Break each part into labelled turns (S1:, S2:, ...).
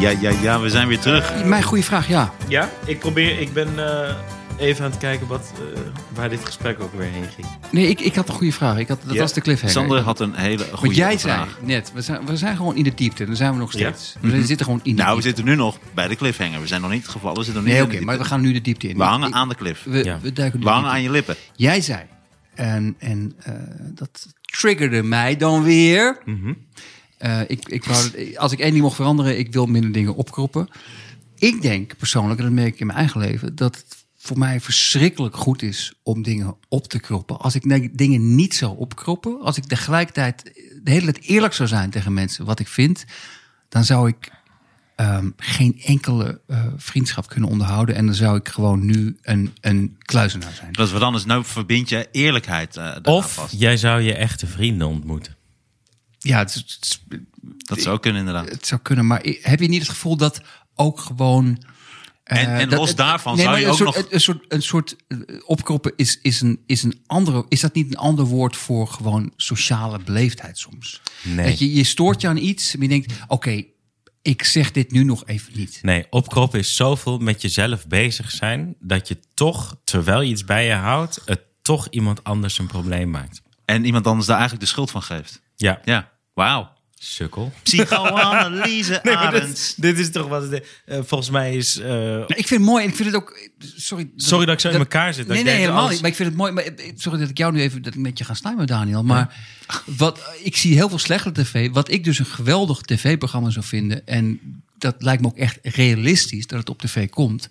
S1: Ja, ja, ja, we zijn weer terug.
S2: Mijn goede vraag, ja.
S3: Ja, ik probeer. Ik ben eh, even aan het kijken wat, eh, waar dit gesprek ook weer heen ging.
S2: Nee, ik, ik had een goede vraag. Ik had, dat
S3: Ja.
S2: was de cliffhanger.
S1: Sander had een hele goede
S2: Wat jij
S1: vraag.
S2: zei net, we zijn, we zijn gewoon in de diepte. Dan zijn we nog
S3: Ja.
S2: steeds. We zitten gewoon in de
S1: Nou, we
S2: diepte.
S1: zitten nu nog bij de cliffhanger. We zijn nog niet gevallen. We, zitten nog
S2: Nee,
S1: niet
S2: oké,
S1: in de
S2: maar we
S1: diepte.
S2: gaan nu de diepte in.
S1: we hangen
S2: Ik-
S1: aan de cliff.
S2: We,
S3: Ja.
S2: we duiken nu
S1: We hangen aan je lippen.
S2: Jij zei, en, en eh, dat triggerde mij dan weer. Eh, ik, ik wou, dat- als ik één ding mocht veranderen, ik wil minder dingen opkroppen. Ik denk persoonlijk, en dat merk ik in mijn eigen leven, dat het voor mij verschrikkelijk goed is om dingen op te kroppen. Als ik ne- dingen niet zou opkroppen, als ik tegelijkertijd de hele tijd eerlijk zou zijn tegen mensen wat ik vind, dan zou ik ehm, geen enkele eh, vriendschap kunnen onderhouden. En dan zou ik gewoon nu een, een kluizenaar zijn.
S1: Dat is wat anders. Nou verbind je eerlijkheid eh daaraan
S4: Of
S1: vast.
S4: jij zou je echte vrienden ontmoeten.
S2: Ja, het, is- het is-
S1: Dat zou kunnen inderdaad.
S2: het zou kunnen, maar i- heb je niet het gevoel dat ook gewoon. eh,
S1: En- en
S2: dat-
S1: los
S2: het-
S1: daarvan zou
S2: maar
S1: je
S2: een
S1: ook
S2: soort,
S1: nog-
S2: Een, een soort, een soort eh, opkroppen is, is, een, is een andere. Is dat niet een ander woord voor gewoon sociale beleefdheid soms?
S4: Nee.
S2: Dat je, je stoort je aan iets en je denkt: oké, ik zeg dit nu nog even niet.
S4: Nee, opkroppen is zoveel met jezelf bezig zijn... dat je toch, terwijl je iets bij je houdt... het toch iemand anders een probleem maakt.
S1: En iemand anders daar eigenlijk de schuld van geeft.
S4: Ja,
S1: Ja, wauw.
S4: sukkel.
S1: Psychoanalyse, Arends.
S3: Dit is toch wat het... eh, volgens mij is... eh,
S2: Nou, ik vind het mooi en ik vind het ook. Sorry,
S4: Sorry dat ik zo in elkaar zit, dat
S2: Nee,
S4: ik
S2: nee,
S4: denk,
S2: helemaal
S4: alles-
S2: niet. Maar ik vind het mooi. Maar, eh, sorry dat ik jou nu even dat ik met je ga slijmen, Daniel. Maar wat, ik zie heel veel slechtere tv. Wat ik dus een geweldig tv-programma zou vinden. En dat lijkt me ook echt realistisch dat het op tv komt.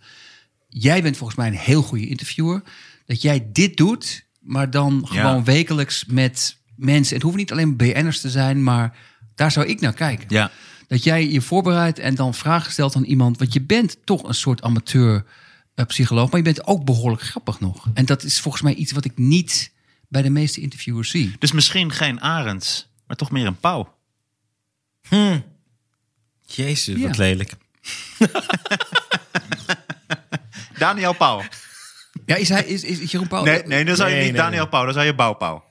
S2: Jij bent volgens mij een heel goede interviewer. Dat jij dit doet, maar dan
S1: Ja.
S2: gewoon wekelijks met mensen. Het hoeven niet alleen BN'ers te zijn, maar daar zou ik naar kijken.
S1: Ja.
S2: Dat jij je voorbereidt en dan vragen stelt aan iemand. Want je bent toch een soort amateur eh, psycholoog. Maar je bent ook behoorlijk grappig nog. En dat is volgens mij iets wat ik niet bij de meeste interviewers zie.
S1: Dus misschien geen Arends, maar toch meer een pauw.
S4: Jezus,
S2: Ja.
S4: wat lelijk.
S1: Daniel Pauw.
S2: Oh, Ja, is hij is, is Jeroen Pauw?
S1: Nee, nee, dan zou je
S3: Nee,
S1: niet
S3: nee,
S1: Daniel Pauw, dan zou je Bouwpauw.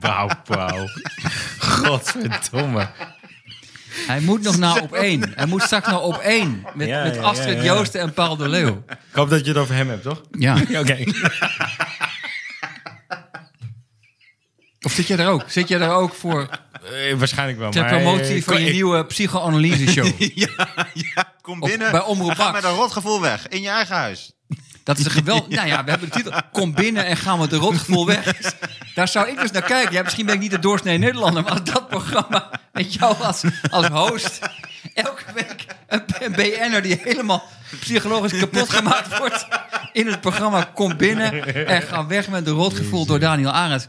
S4: Wauw, wauw. Godverdomme.
S2: Hij moet nog naar op één. Hij moet straks naar op één. Met,
S3: Ja,
S2: met
S3: ja,
S2: Astrid
S3: ja, ja.
S2: Joosten en Paul de Leeuw.
S3: ik hoop dat je het over hem hebt, toch?
S2: Ja.
S3: Oké.
S2: Of zit jij er ook? Zit jij er ook voor
S3: Eh, waarschijnlijk wel.
S2: ter
S3: maar, eh,
S2: promotie van
S3: kon-
S2: je
S3: ik-
S2: nieuwe psychoanalyse show?
S1: Ja, ja, kom
S2: Op-
S1: binnen.
S2: bij Omroep
S1: en Ga
S2: Max.
S1: met een rotgevoel weg, in je eigen huis.
S2: Dat is een geweld. Nou ja, we hebben de titel. Kom binnen en gaan met de rotgevoel weg. Daar zou ik dus naar kijken. Ja, misschien ben ik niet de doorsnee Nederlander, maar als dat programma met jou als, als host. Elke week een, een BN'er die helemaal psychologisch kapot gemaakt wordt. In het programma Kom binnen en ga weg met de rotgevoel door Daniel Arends.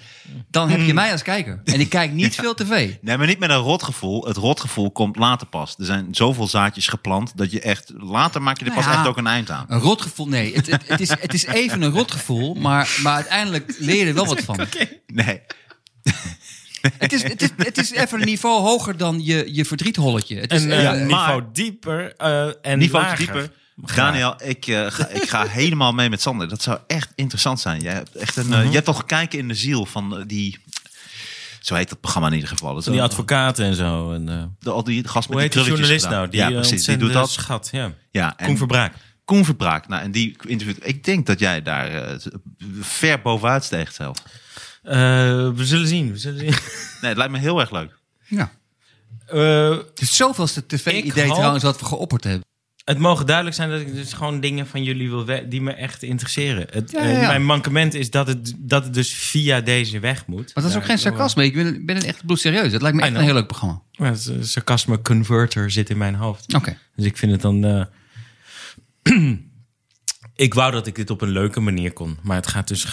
S2: Dan heb je mij als kijker. En ik kijk niet veel tv.
S1: Nee, maar niet met een rotgevoel. Het rotgevoel komt later pas. Er zijn zoveel zaadjes geplant dat je echt... Later maak je er
S2: Nou
S1: pas
S2: ja.
S1: echt ook een eind aan.
S2: Een rotgevoel, nee. Het, het, het is, het is even een rotgevoel, maar, maar uiteindelijk leer je er wel wat van.
S1: Nee.
S2: Het is, het, is, het is even een niveau hoger dan je, je verdrietholletje. Het is
S4: Een
S2: even-
S4: eh,
S1: maar-
S4: niveau dieper eh, en
S1: Niveau
S4: lager.
S1: dieper. Daniel, ik, eh, ga, ik ga helemaal mee met Sander. Dat zou echt interessant zijn. Jij hebt echt een, eh,
S4: Mhm.
S1: je hebt toch kijken in de ziel van eh, die... Zo heet dat programma in ieder geval. Dat is
S4: Die
S1: ook-
S4: advocaten en zo. En, eh,
S1: de, al die gast met
S4: hoe heet
S1: die
S4: die
S1: krulletjes
S4: journalist
S1: gedaan.
S4: nou? Die,
S1: ja,
S4: eh,
S1: precies. Die doet
S4: ontzettende
S1: dat.
S4: schat, ja.
S1: Ja, en
S4: Koen Verbraak.
S1: Koen Verbraak. Nou, en die interviewt... Ik denk dat jij daar eh, ver bovenuit steekt zelf.
S4: Eh, we zullen zien, we zullen zien.
S1: Nee, het lijkt me heel erg leuk.
S2: ja.
S4: Eh,
S2: Het is zoveelste
S4: Ik
S2: tv-idee
S4: hoop-
S2: trouwens wat we geopperd hebben.
S4: Het mogen duidelijk zijn dat ik dus gewoon dingen van jullie wil we- die me echt interesseren. Het,
S2: Ja, ja, ja.
S4: eh, mijn mankement is dat het, dat het dus via deze weg moet.
S2: Maar dat is ook geen sarcasme. Ik ben, ben echt bloedserieus. Het lijkt me
S4: I
S2: echt een
S4: know.
S2: heel leuk programma.
S4: Maar het eh, sarcasme converter zit in mijn hoofd.
S2: Oké.
S4: Dus ik vind het dan. eh, ik wou dat ik dit op een leuke manier kon. Maar het gaat dus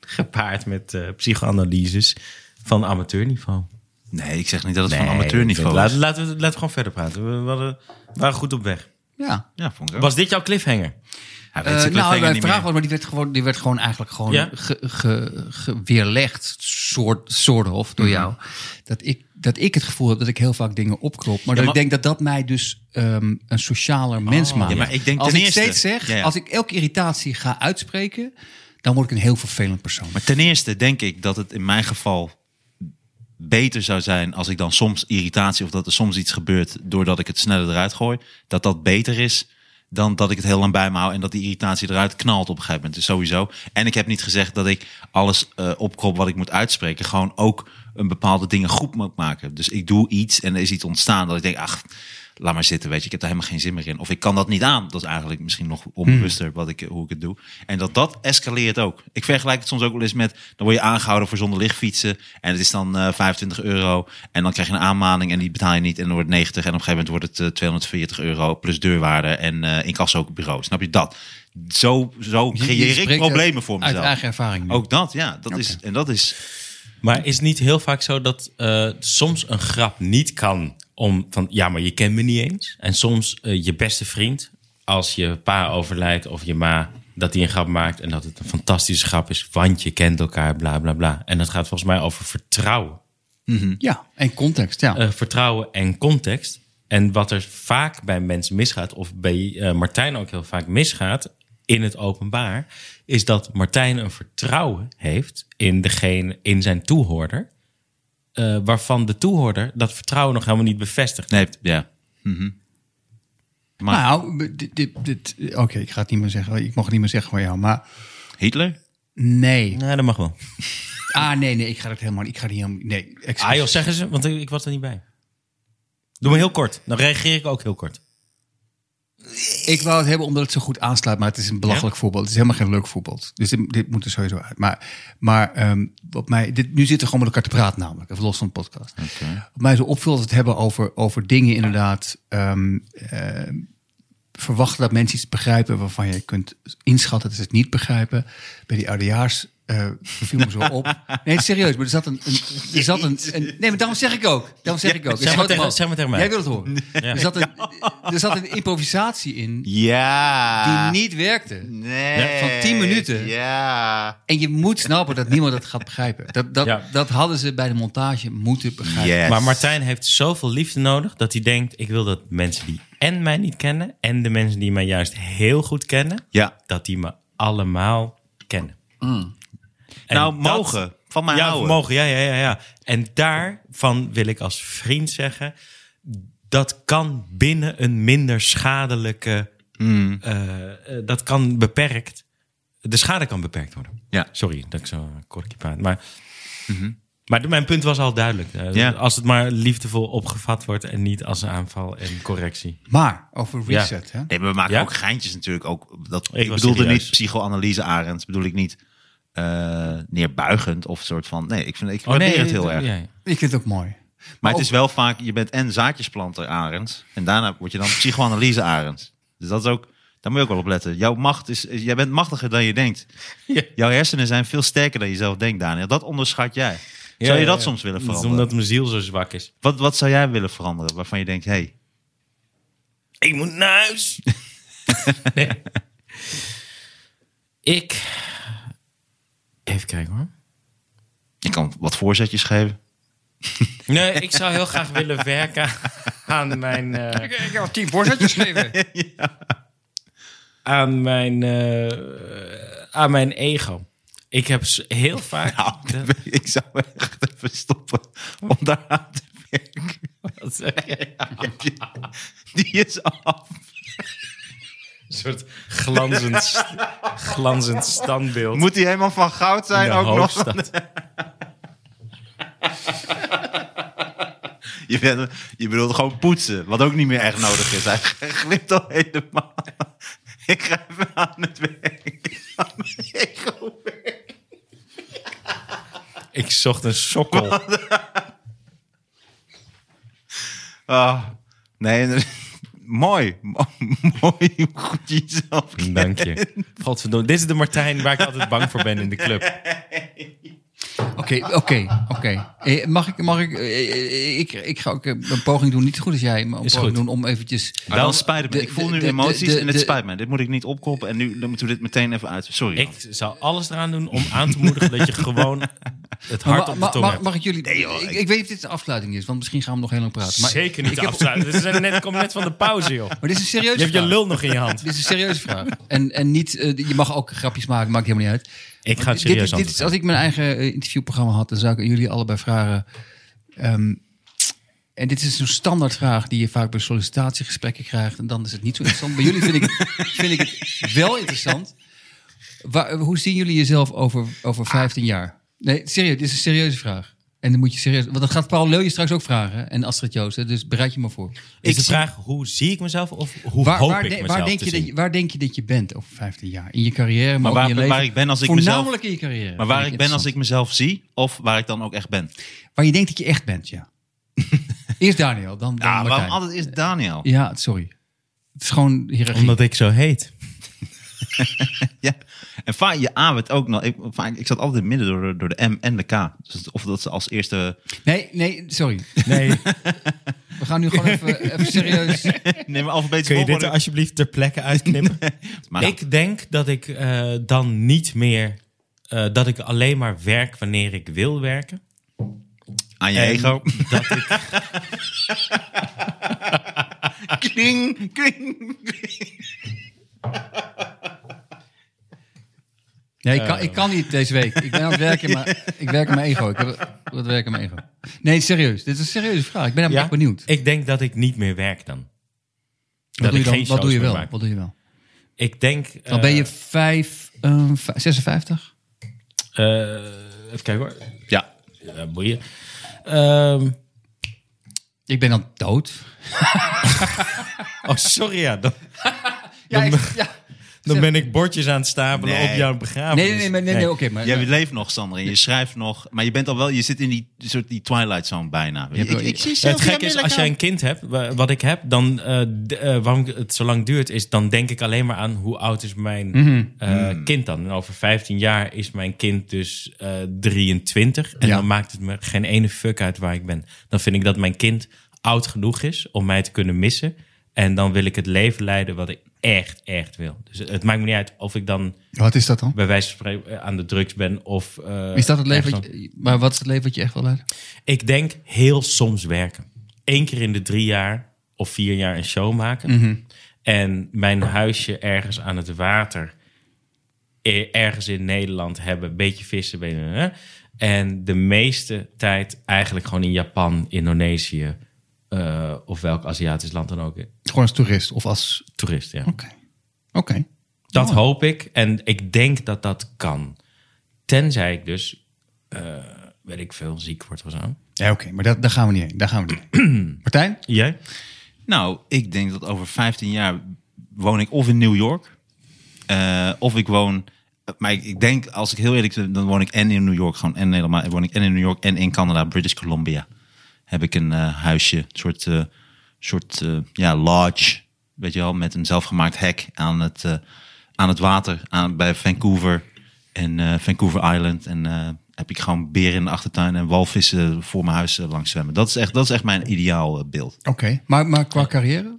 S4: gepaard met eh, psychoanalyses van amateurniveau.
S1: Nee, ik zeg niet dat het van
S4: Nee,
S1: amateurniveau
S4: laat-
S1: is.
S4: Laten we laten we gewoon verder praten. We, waren, waren goed op weg.
S2: Ja.
S1: Ja, vond ik ook.
S4: Was dit jouw cliffhanger?
S1: Hij
S2: Eh,
S1: weet zijn
S2: nou,
S1: cliffhanger
S2: mijn
S1: niet
S2: vraag
S1: meer.
S2: was, maar die werd gewoon, die werd gewoon eigenlijk gewoon
S4: Ja.
S2: ge- ge- ge- weerlegd, soort, soort of,
S1: Mhm.
S2: door jou. Dat ik, dat ik het gevoel heb dat ik heel vaak dingen opkrop. Maar, dat
S1: maar-
S2: ik denk dat dat mij dus ehm, een socialer mens maakt.
S1: Oh. ja, maar ik denk
S2: als
S1: ten
S2: ik
S1: eerste-
S2: steeds zeg,
S1: Ja, ja.
S2: als ik elke irritatie ga uitspreken, dan word ik een heel vervelend persoon.
S1: Maar ten eerste denk ik dat het in mijn geval beter zou zijn als ik dan soms irritatie of dat er soms iets gebeurt doordat ik het sneller eruit gooi, dat dat beter is dan dat ik het heel lang bij me hou en dat die irritatie eruit knalt op een gegeven moment. Dus sowieso. En ik heb niet gezegd dat ik alles eh opkrop wat ik moet uitspreken. Gewoon ook een bepaalde dingen goed moet maken. Dus ik doe iets en er is iets ontstaan dat ik denk, ach, laat maar zitten, weet je. Ik heb daar helemaal geen zin meer in. Of ik kan dat niet aan. Dat is eigenlijk misschien nog onbewuster
S2: Hmm.
S1: wat ik, hoe ik het doe. En dat dat escaleert ook. Ik vergelijk het soms ook wel eens met, dan word je aangehouden voor zonder lichtfietsen. En het is dan eh, 25 euro. En dan krijg je een aanmaning en die betaal je niet. En dan wordt het 90. En op een gegeven moment wordt het eh, 240 euro plus deurwaarde en eh incassobureau. Snap je dat? Zo, zo
S2: Je- je
S1: creëer ik
S2: spreekt
S1: problemen voor
S2: Uit
S1: mezelf. Oh.
S2: eigen ervaring. nu.
S1: Ook dat, ja. Dat is, en dat is
S4: Maar is het niet heel vaak zo dat eh, soms een grap niet kan om van ja, maar je kent me niet eens? En soms eh, je beste vriend, als je pa overlijdt of je ma, dat die een grap maakt en dat het een fantastische grap is, want je kent elkaar, bla bla bla. En dat gaat volgens mij over vertrouwen.
S2: Ja, en context, ja.
S4: Eh, vertrouwen en context. En wat er vaak bij mensen misgaat, of bij eh, Martijn ook heel vaak misgaat in het openbaar, is dat Martijn een vertrouwen heeft in degene, in zijn toehoorder, eh, waarvan de toehoorder dat vertrouwen nog helemaal niet bevestigt.
S1: Nee, ja. maar-
S2: nou, dit, dit, dit- oké, ik ga het niet meer zeggen. Ik mag het niet meer zeggen van jou, maar
S1: Hitler?
S2: nee.
S4: Nee, Nou, dat mag wel.
S2: Ah, nee, nee, ik ga het helemaal niet. Ik ga het helemaal Nee, excuus.
S4: Ah joh, zeggen ze, want ik, ik was er niet bij. Doe me heel kort, dan reageer ik ook heel kort.
S2: Ik wou het hebben omdat het zo goed aansluit, maar het is een belachelijk voorbeeld. Het is helemaal geen leuk voorbeeld. Dus dit, dit moet er sowieso uit. Maar, maar ehm, wat mij, dit, nu zitten we gewoon met elkaar te praten namelijk, even los van de podcast. Wat mij zo opvult is het hebben over, over dingen inderdaad. ehm, ehm, verwachten dat mensen iets begrijpen waarvan je kunt inschatten dat ze het niet begrijpen. Bij die oudejaars eh viel me zo op. Nee, serieus, maar er zat een... een, er zat een, een- nee, maar daarom zeg ik ook. Daarom zeg ik ook.
S4: zeg maar
S2: Ik schoot hem
S4: tegen-
S2: op.
S4: zeg maar tegen mij.
S2: Jij wil het horen. Er, zat een, er zat een improvisatie in
S1: Ja.
S2: die niet werkte.
S1: Nee.
S2: Van 10 minuten.
S1: Ja.
S2: En je moet snappen dat niemand dat gaat begrijpen. Dat, dat,
S4: Ja.
S2: dat hadden ze bij de montage moeten begrijpen.
S1: Yes.
S4: Maar Martijn heeft zoveel liefde nodig dat hij denkt: ik wil dat mensen die en mij niet kennen en de mensen die mij juist heel goed kennen,
S1: Ja.
S4: dat die me allemaal kennen. En
S1: Nou,
S4: dat-
S1: mogen. Van mij
S4: ja,
S1: houden.
S4: mogen. Ja, ja, ja, ja. En daarvan wil ik als vriend zeggen: dat kan binnen een minder schadelijke.
S1: Hmm.
S4: eh, eh, dat kan beperkt. De schade kan beperkt worden.
S1: Ja. Mhm.
S4: Sorry dat ik zo kortje praat. Maar, maar mijn punt was al duidelijk. Eh,
S1: Ja.
S4: Als het maar liefdevol opgevat wordt en niet als een aanval en correctie.
S2: Maar over reset, hè?
S1: Nee, maar we maken
S4: Ja?
S1: ook geintjes natuurlijk. Ook, dat,
S4: Ik
S1: ik
S4: was
S1: bedoelde
S4: serieus.
S1: niet psychoanalyse, Arend. Bedoel ik niet eh, neerbuigend of soort van... Nee, ik, vind, ik
S4: Oh,
S1: waardeer het heel erg.
S4: ja, Oh. ja.
S2: Ik vind het ook mooi.
S1: Maar het is wel vaak... Je bent en zaadjesplanter, Arend. En daarna word je dan psychoanalyse, Arend. Dus dat is ook... Daar moet je ook wel op letten. Jouw macht is... Jij bent machtiger dan je denkt.
S4: Ja.
S1: Jouw hersenen zijn veel sterker dan je zelf denkt, Daniel. Dat onderschat jij. Zou
S4: Ja,
S1: je
S4: ja,
S1: dat
S4: ja.
S1: soms willen
S4: Dat is
S1: veranderen?
S4: Omdat mijn ziel zo zwak is.
S1: Wat, wat zou jij willen veranderen waarvan je denkt... Hey,
S4: Ik moet naar huis. nee. Ik. Even kijken hoor.
S1: ik kan wat voorzetjes geven.
S4: Nee, ik zou heel graag willen werken aan mijn. eh,
S2: Ik heb tien voorzetjes gegeven.
S4: aan mijn, eh, aan mijn ego. Ik heb s- heel vaak. Dat-
S1: Nou, Ik zou echt even stoppen om daar aan te werken.
S4: dat zeg je.
S1: Die is af.
S4: Een soort glanzend, st- glanzend standbeeld.
S1: Moet die helemaal van goud
S4: in
S1: zijn
S4: de
S1: ook nog?
S4: hoofdstad.
S1: Je, bent, je bedoelt gewoon poetsen, wat ook niet meer echt nodig is. Hij glipt al helemaal. Ik ga even aan het werk. Aan mijn ego werken.
S4: Ik zocht een sokkel.
S1: Ah, nee, en- mooi. Mo- Mooi hoe goed je jezelf kent.
S4: Dank je. Godverdomme, dit is de Martijn waar ik altijd bang voor ben in de club.
S2: Oké, oké, oké. Eh, Mag ik, mag ik, eh, eh, ik, ik ga ook eh, een poging doen, niet zo goed als jij, maar een
S4: Is
S2: poging
S4: goed.
S2: doen om eventjes... Nou,
S1: Wel spijt me.
S2: de-
S1: Ik voel
S2: de-
S1: nu
S2: de-
S1: emoties
S2: de-
S1: en het
S2: de-
S1: spijt me. Dit moet ik niet opkoppen en nu dan moeten we dit meteen even uit. Sorry.
S4: Ik zal alles eraan doen om aan te moedigen dat je gewoon het
S2: Maar
S4: hart op de
S2: mag,
S4: tong
S2: mag,
S4: hebt.
S2: mag ik jullie... ik, ik weet of dit een afsluiting is, want misschien gaan we nog heel lang praten. Maar,
S4: Zeker niet afsluiten. We zijn net, komen net van de pauze, joh.
S2: maar dit is een serieuze
S4: Je hebt je
S2: vraag.
S4: lul nog in je hand.
S2: Dit is een serieuze vraag. En, en niet, eh, je mag ook grapjes maken, maakt helemaal niet uit.
S4: Ik ga het
S2: Dit
S4: serieus
S2: is, dit is, als ik mijn eigen eh, interviewprogramma had, dan zou ik aan jullie allebei vragen. ehm, en dit is zo'n standaardvraag die je vaak bij sollicitatiegesprekken krijgt. En dan is het niet zo interessant. Bij jullie vind ik, het- vind ik het wel interessant. Waar- hoe zien jullie jezelf over, over 15 jaar? Nee, serieus, dit is een serieuze vraag. En dan moet je serieus... Want dat gaat Paul Leuje straks ook vragen. hè, En Astrid Joost. hè, Dus bereid je maar voor.
S4: Is de
S1: zie-
S4: vraag, hoe zie ik mezelf of hoe
S2: Waar,
S4: hoop
S2: waar, de-
S4: ik mezelf
S2: waar, denk
S4: te
S2: je dat,
S4: zien?
S2: je- waar denk je dat je bent over 15 jaar? In je carrière, maar,
S1: Maar
S2: ook
S1: waar-
S2: in je leven.
S1: waar ik ben als ik mezelf-
S2: Voornamelijk in je carrière.
S1: Maar
S2: Vind
S1: waar ik ben als
S2: interessant.
S1: ik mezelf zie of waar ik dan ook echt ben.
S2: Waar je denkt dat je echt bent, ja. Eerst Daniel, dan, dan
S1: Ja,
S2: Martijn.
S1: waarom altijd is Daniel?
S2: Ja, sorry. Het is gewoon hiërarchie.
S4: Omdat ik zo heet.
S1: Ja. En vaak je A werd ook nog. Ik, vaak, ik zat altijd midden door, de- door de M en de K. Dus het- of dat ze als eerste.
S2: Nee, nee, sorry.
S4: Nee,
S2: We gaan nu gewoon even, even serieus.
S1: Neem maar alfabetische
S4: kun je dit er
S1: volgorde.
S4: alsjeblieft ter plekke uitknippen?
S1: Maar
S4: Ik denk dat ik eh, dan niet meer... eh, dat ik alleen maar werk wanneer ik wil werken.
S1: aan je
S4: En
S1: ego.
S4: Dat ik
S1: Kling, kling.
S2: Nee, ik
S1: Eh.
S2: kan, ik kan niet deze week. Ik ben aan het werken, maar ik werk aan mijn ego. Ik heb wat werken aan mijn ego. Nee, serieus. Dit is een serieuze vraag. Ik ben
S4: Ja?
S2: helemaal echt benieuwd.
S4: Ik denk dat ik niet meer werk dan.
S2: Wat doe,
S4: dat ik
S2: je dan,
S4: geen
S2: wat doe je
S4: shows
S2: wel?
S4: meer maak.
S2: Wat doe je wel?
S4: Ik denk...
S2: Dan
S4: eh,
S2: ben je vijf, ehm, vij- 56?
S4: eh, even kijken hoor.
S1: Ja.
S4: Ja, boeien. Ehm,
S2: Ik ben dan dood.
S4: oh, sorry ja. Dan,
S2: Ja, ik- ja.
S4: dan ben ik bordjes aan het stapelen
S1: Nee.
S4: op jouw begrafenis.
S2: Nee, nee, nee, maar- nee, nee, oké. maar,
S1: Jij leeft nog, Sander. En je schrijft nog. Maar je bent al wel. Je zit in die soort die Twilight Zone bijna. Weet je.
S2: hebt
S1: Ik,
S2: wel-
S1: ik zie
S4: Ja, het
S1: Sylvia
S4: gekke is,
S1: Miller
S4: als jij
S1: gaan.
S4: een kind hebt, wa- wat ik heb, dan eh, d- eh, waarom het zo lang duurt, is dan denk ik alleen maar aan hoe oud is mijn
S2: Mhm.
S4: eh, kind dan. En over 15 jaar is mijn kind dus eh, 23. En
S2: Ja.
S4: dan maakt het me geen ene fuck uit waar ik ben. Dan vind ik dat mijn kind oud genoeg is om mij te kunnen missen. En dan wil ik het leven leiden wat ik echt, echt wil. Dus het, het maakt me niet uit of ik dan
S2: Wat is dat dan?
S4: bij wijze van spreken eh, aan de drugs ben of... eh,
S2: Is dat het leven?
S4: ergens
S2: Wat je- maar wat is het leven wat je echt wil leiden?
S4: ik denk heel soms werken. Eén keer in de drie jaar of vier jaar een show maken. En mijn huisje ergens aan het water, e- ergens in Nederland hebben. Een beetje vissen. ben je- hè? En de meeste tijd eigenlijk gewoon in Japan, Indonesië eh, of welk Aziatisch land dan ook. eh,
S2: Gewoon als toerist of als...
S4: Toerist, ja.
S2: Oké. Oké.
S4: Dat hoop ik. En ik denk dat dat kan. Tenzij ik dus, eh, weet ik veel, ziek word of zo.
S2: Ja, oké. maar dat, daar gaan we niet heen. Daar gaan we niet heen. Martijn?
S4: Jij?
S1: Nou, ik denk dat over 15 jaar woon ik of in New York. eh, of ik woon. Maar ik, ik denk, als ik heel eerlijk ben, dan woon ik en in New York gewoon en in Nederland. Maar woon ik en in New York en in Canada, British Columbia. Heb ik een eh, huisje, een soort, eh, soort eh, ja, lodge. Weet je wel, met een zelfgemaakt hek aan het, eh, aan het water aan, bij Vancouver en eh, Vancouver Island. En eh, heb ik gewoon beren in de achtertuin en walvissen voor mijn huis eh, langs zwemmen. Dat is echt, dat is echt mijn ideaal eh, beeld.
S2: Oké. Maar, maar qua carrière?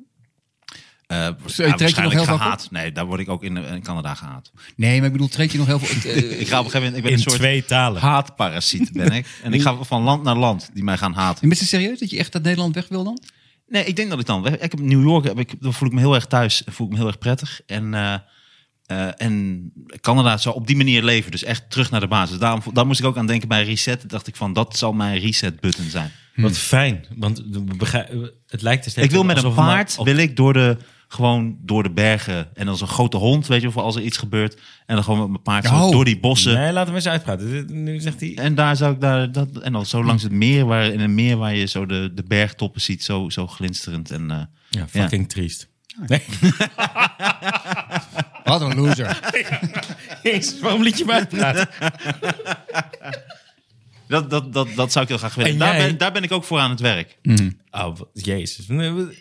S1: Eh, ja,
S2: je nog
S1: waarschijnlijk
S2: heel vaak
S1: gehaat. Nee, daar word ik ook in, in Canada gehaat.
S2: Nee, maar ik bedoel, treed je nog heel veel... eh,
S1: Ik ga op een gegeven moment, ik ben
S4: In
S1: een soort
S4: twee talen.
S1: haatparasiet ben ik. En ik ga van land naar land die mij gaan haten.
S2: bent je eh, serieus dat je echt uit Nederland weg wil dan?
S1: Nee, ik denk dat ik dan, ik heb New York, heb ik, dan voel ik me heel erg thuis, voel ik me heel erg prettig. En, eh, eh, en Canada zou op die manier leven, dus echt terug naar de basis. Daarom, daar moest ik ook aan denken bij reset. Dacht ik van, dat zal mijn reset button zijn.
S4: Wat fijn, want we begrijpen- het lijkt er steeds
S1: Hmm. Ik wil met een
S4: alsof we maar
S1: paard,
S4: op-
S1: wil ik door de, gewoon door de bergen. En als een grote hond, weet je, of als er iets gebeurt. En dan gewoon met mijn paard zo
S2: Oh.
S1: door die bossen.
S4: Nee, laat hem eens uitpraten. Dit- Nu zegt hij...
S1: En daar zou ik daar dat en dan zo langs het meer waar in een meer waar je zo de, de bergtoppen ziet zo zo glinsterend en eh,
S4: Ja,
S1: fucking
S4: fucking triest.
S2: Wat een loser.
S4: waarom liet je me uitpraten?
S1: dat, dat, dat, dat zou ik heel graag willen.
S4: En
S1: Daar
S4: jij?
S1: ben, daar ben ik ook voor aan het werk.
S4: Oh, wat- jezus.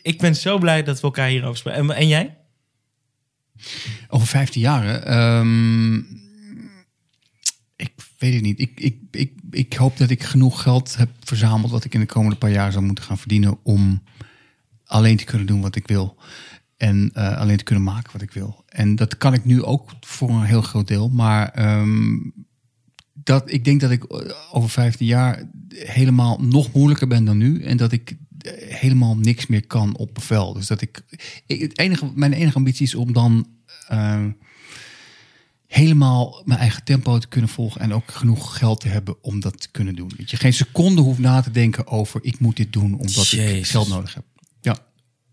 S4: Ik ben zo blij dat we elkaar hierover spreken. En, en jij?
S2: Over 15 jaren? ehm, ik weet ik niet. Ik, ik, ik, ik hoop dat ik genoeg geld heb verzameld... wat ik in de komende paar jaar zou moeten gaan verdienen... om alleen te kunnen doen wat ik wil. En eh, alleen te kunnen maken wat ik wil. En dat kan ik nu ook voor een heel groot deel. Maar ehm, dat, ik denk dat ik eh, over 15 jaar helemaal nog moeilijker ben dan nu. En dat ik eh, helemaal niks meer kan op bevel. Dus dat ik. ik- het enige, mijn enige ambitie is om dan. eh, helemaal mijn eigen tempo te kunnen volgen en ook genoeg geld te hebben om dat te kunnen doen. Dat je geen seconde hoeft na te denken over ik moet dit doen omdat ik
S4: Jezus.
S2: geld nodig heb. Ja.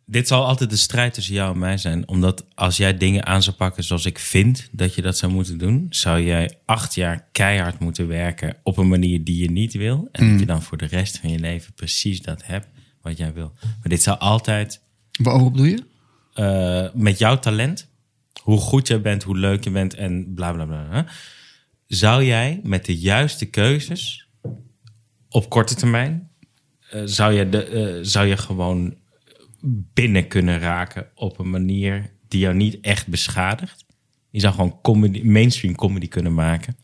S4: Dit zal altijd de strijd tussen jou en mij zijn. Omdat als jij dingen aan zou pakken zoals ik vind dat je dat zou moeten doen, zou jij acht jaar keihard moeten werken op een manier die je niet wil. En
S1: Hmm.
S4: dat je dan voor de rest van je leven precies dat hebt wat jij wil. Maar dit zou altijd
S2: Waarop bedoel je?
S4: eh, met jouw talent, hoe goed jij bent, hoe leuk je bent en bla bla bla. bla, Zou jij met de juiste keuzes op korte termijn, eh, zou, je de, eh, zou je gewoon binnen kunnen raken op een manier die jou niet echt beschadigt? Je zou gewoon comedy, mainstream comedy kunnen maken